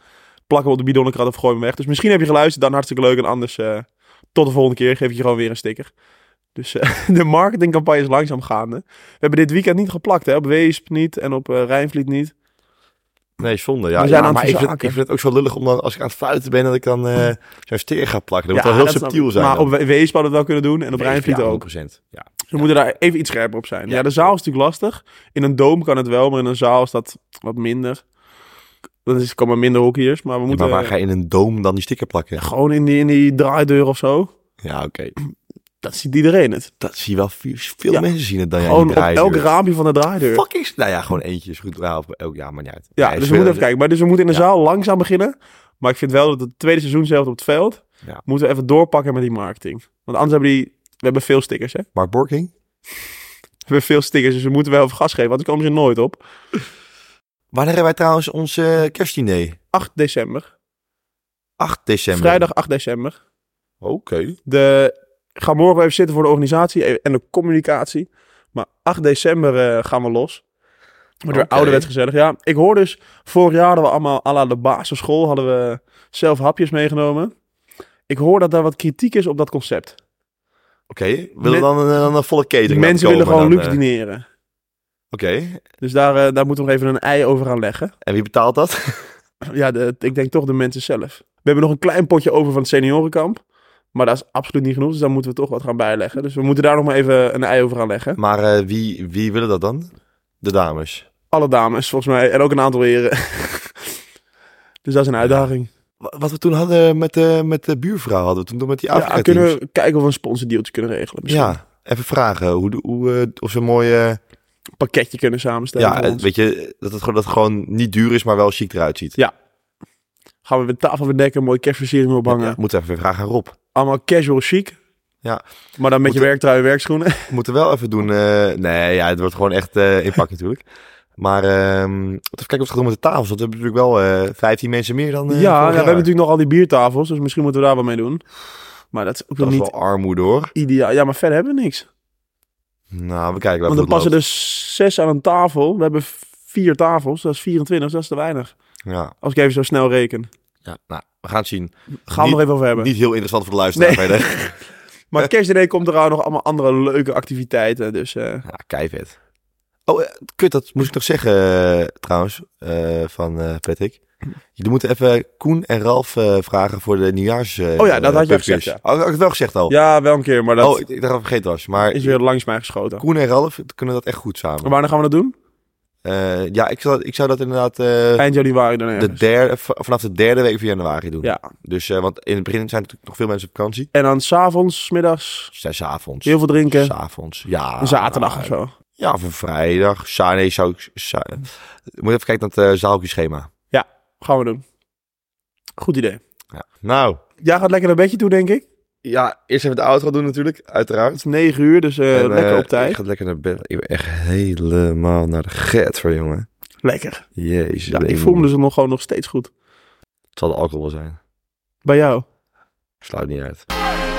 Speaker 3: Plak hem op de bidonkrat of gooi hem weg. Dus misschien heb je geluisterd, dan hartstikke leuk. En anders, eh, tot de volgende keer geef ik je gewoon weer een sticker. Dus eh, <laughs> de marketingcampagne is langzaam gaande. We hebben dit weekend niet geplakt, hè? Op Weesp niet en op eh, Rijnvliet niet.
Speaker 2: Nee, zonde. Ja,
Speaker 3: We zijn
Speaker 2: Ja,
Speaker 3: aan
Speaker 2: maar
Speaker 3: het
Speaker 2: ik vind, ik
Speaker 3: verzaken.
Speaker 2: vind het ook zo lullig om dan, als ik aan het fluiten ben, dat ik dan eh zo'n steer ga plakken. Dat moet wel
Speaker 3: dat
Speaker 2: heel
Speaker 3: snap
Speaker 2: subtiel
Speaker 3: ik.
Speaker 2: zijn.
Speaker 3: Maar
Speaker 2: dan.
Speaker 3: op We- Weesp hadden we het wel kunnen doen en op Rijnvliet
Speaker 2: Ja,
Speaker 3: ook.
Speaker 2: 100%. Ja.
Speaker 3: Ze moeten daar even iets scherper op zijn. Ja.
Speaker 2: Ja.
Speaker 3: de zaal is natuurlijk lastig. In een doom kan het wel, maar in een zaal is dat wat minder. Dan is, komen minder hockeyers, maar we
Speaker 2: Ja,
Speaker 3: moeten
Speaker 2: maar waar ga je in een doom dan die sticker plakken?
Speaker 3: gewoon in die, in die draaideur of zo.
Speaker 2: Ja, oké.
Speaker 3: Dat ziet iedereen het.
Speaker 2: Dat zie je wel. Veel, veel
Speaker 3: Ja.
Speaker 2: mensen zien het dan. Ja,
Speaker 3: gewoon
Speaker 2: die
Speaker 3: op
Speaker 2: draaideur.
Speaker 3: elk raampje van de draaideur.
Speaker 2: Fucking... s- Nou ja, gewoon eentje is goed. Ja, op elk jaar, maar niet uit.
Speaker 3: Ja,
Speaker 2: Nee,
Speaker 3: dus we
Speaker 2: spelen-
Speaker 3: moeten even kijken. Maar dus we moeten in de
Speaker 2: Ja.
Speaker 3: zaal langzaam beginnen. Maar ik vind wel dat het tweede seizoen zelf op het veld...
Speaker 2: Ja.
Speaker 3: moeten we even doorpakken met die marketing. Want anders hebben die... We hebben veel stickers, hè? We
Speaker 2: Mark Borking?
Speaker 3: hebben veel stickers, dus we moeten wel even gas geven. Want anders komen ze nooit op.
Speaker 2: Wanneer hebben wij trouwens ons eh, kerstdiner?
Speaker 3: 8 december.
Speaker 2: 8 december.
Speaker 3: Vrijdag 8 december.
Speaker 2: Oké.
Speaker 3: De, ik ga morgen even zitten voor de organisatie en de communicatie. Maar 8 december eh, gaan we los. Wordt weer
Speaker 2: Oké.
Speaker 3: ouderwets gezellig. Ja, ik hoor dus, vorig jaar hadden we allemaal à la de basisschool, hadden we zelf hapjes meegenomen. Ik hoor dat daar wat kritiek is op dat concept.
Speaker 2: Oké, willen
Speaker 3: Men-
Speaker 2: we dan een, eh, dan een volle catering laten
Speaker 3: Mensen willen
Speaker 2: komen
Speaker 3: gewoon
Speaker 2: dan,
Speaker 3: luxe
Speaker 2: eh?
Speaker 3: dineren.
Speaker 2: Oké,
Speaker 3: Dus daar, eh, daar moeten we nog even een ei over gaan leggen. <clears throat>
Speaker 2: en wie betaalt dat?
Speaker 3: Ja, de, ik denk toch de mensen zelf. We hebben nog een klein potje over van het seniorenkamp. Maar dat is absoluut niet genoeg, dus daar moeten we toch wat gaan bijleggen. Dus we moeten daar nog maar even een ei over gaan leggen.
Speaker 2: Maar eh, wie, wie willen dat dan? De dames.
Speaker 3: alle dames, volgens mij. En ook een aantal heren. <laughs> dus dat is een uitdaging.
Speaker 2: Wa- Wat we toen hadden met, eh, met de buurvrouw, hadden we toen nog met die
Speaker 3: Ja,
Speaker 2: Afrika
Speaker 3: kunnen we kijken of we een sponsordeeltje kunnen regelen. Misschien
Speaker 2: Ja, even vragen hoe, de- hoe, eh, of ze mooi...
Speaker 3: een pakketje kunnen samenstellen.
Speaker 2: ja,
Speaker 3: voor
Speaker 2: eh,
Speaker 3: ons.
Speaker 2: weet je, dat het, gewoon, dat het gewoon niet duur is, maar wel chic eruit ziet.
Speaker 3: Ja, Gaan we weer tafel bedekken, mooie kerstversiering ophangen.
Speaker 2: Ja, moeten we even vragen aan Rob.
Speaker 3: Allemaal casual chic.
Speaker 2: Ja.
Speaker 3: Maar dan met je
Speaker 2: Moeten-
Speaker 3: werktrui en werkschoenen.
Speaker 2: We moeten wel even doen... eh, nee, ja, het wordt gewoon echt eh
Speaker 3: <laughs>
Speaker 2: in pak natuurlijk. Maar ehm even kijken of het gaat doen met de tafels. Want we hebben natuurlijk wel eh 15 mensen meer dan eh,
Speaker 3: ja, ja,
Speaker 2: vorig
Speaker 3: we hebben
Speaker 2: jaar.
Speaker 3: natuurlijk nog al die biertafels, dus misschien moeten we daar wat mee doen. Maar dat is ook nog
Speaker 2: Dat is
Speaker 3: niet
Speaker 2: wel armoede hoor.
Speaker 3: ideaal. Ja, maar verder hebben we niks.
Speaker 2: Nou, we kijken wel
Speaker 3: Want
Speaker 2: hoe het
Speaker 3: er passen
Speaker 2: loopt.
Speaker 3: dus zes aan een tafel. We hebben vier tafels, dat is 24, dat is te weinig.
Speaker 2: Ja,
Speaker 3: Als ik even zo snel reken.
Speaker 2: ja, nou, we gaan het zien.
Speaker 3: Gaan we
Speaker 2: Niet-
Speaker 3: nog even over hebben.
Speaker 2: Niet heel interessant voor de luisteraar
Speaker 3: Nee. <laughs>
Speaker 2: verder.
Speaker 3: Maar kerstdiner komt er nog allemaal andere leuke activiteiten. Dus eh,
Speaker 2: Ja, keivet. Oh, eh, kut, dat moest ik nog zeggen eh, trouwens, eh, van eh Patrick. Jullie moeten even Koen en Ralf eh, vragen voor de nieuwjaars... eh,
Speaker 3: Oh ja, dat had je al
Speaker 2: pubquiz.
Speaker 3: gezegd,
Speaker 2: Oh, had ik het wel gezegd al?
Speaker 3: ja, wel een keer, maar dat
Speaker 2: Oh, ik, ik dacht dat het vergeten was. Maar
Speaker 3: is weer langs mij geschoten.
Speaker 2: Koen en Ralf kunnen dat echt goed samen.
Speaker 3: Maar wanneer gaan we dat doen?
Speaker 2: Eh, ja, ik zou, ik zou dat inderdaad eh,
Speaker 3: Eind januari dan
Speaker 2: de
Speaker 3: ergens.
Speaker 2: derde, v- vanaf de derde week van januari doen.
Speaker 3: Ja.
Speaker 2: Dus, eh, want in het begin zijn natuurlijk nog veel mensen op vakantie.
Speaker 3: En dan s'avonds, 's middags,
Speaker 2: Zes avonds.
Speaker 3: heel veel drinken.
Speaker 2: S'avonds. Ja.
Speaker 3: een zaterdag
Speaker 2: nou,
Speaker 3: of zo.
Speaker 2: Ja, of een vrijdag. Sa nee, zou ik... sa- Moet even kijken naar het eh, zaalkieschema.
Speaker 3: Gaan we doen. Goed idee.
Speaker 2: Ja. Nou,
Speaker 3: Jij gaat lekker naar bedje toe, denk ik.
Speaker 2: Ja, eerst even de outro doen natuurlijk, uiteraard.
Speaker 3: Het is negen uur, dus eh,
Speaker 2: En, eh,
Speaker 3: lekker op
Speaker 2: Ik
Speaker 3: tijd.
Speaker 2: ga lekker naar bed. Ik ben echt helemaal naar de get voor, jongen.
Speaker 3: Lekker.
Speaker 2: Jezus.
Speaker 3: Ja, ik
Speaker 2: Lemon.
Speaker 3: voel me dus nog, gewoon nog steeds goed.
Speaker 2: Het zal de alcohol wel zijn.
Speaker 3: Bij jou.
Speaker 2: Sluit niet uit.
Speaker 4: Hey!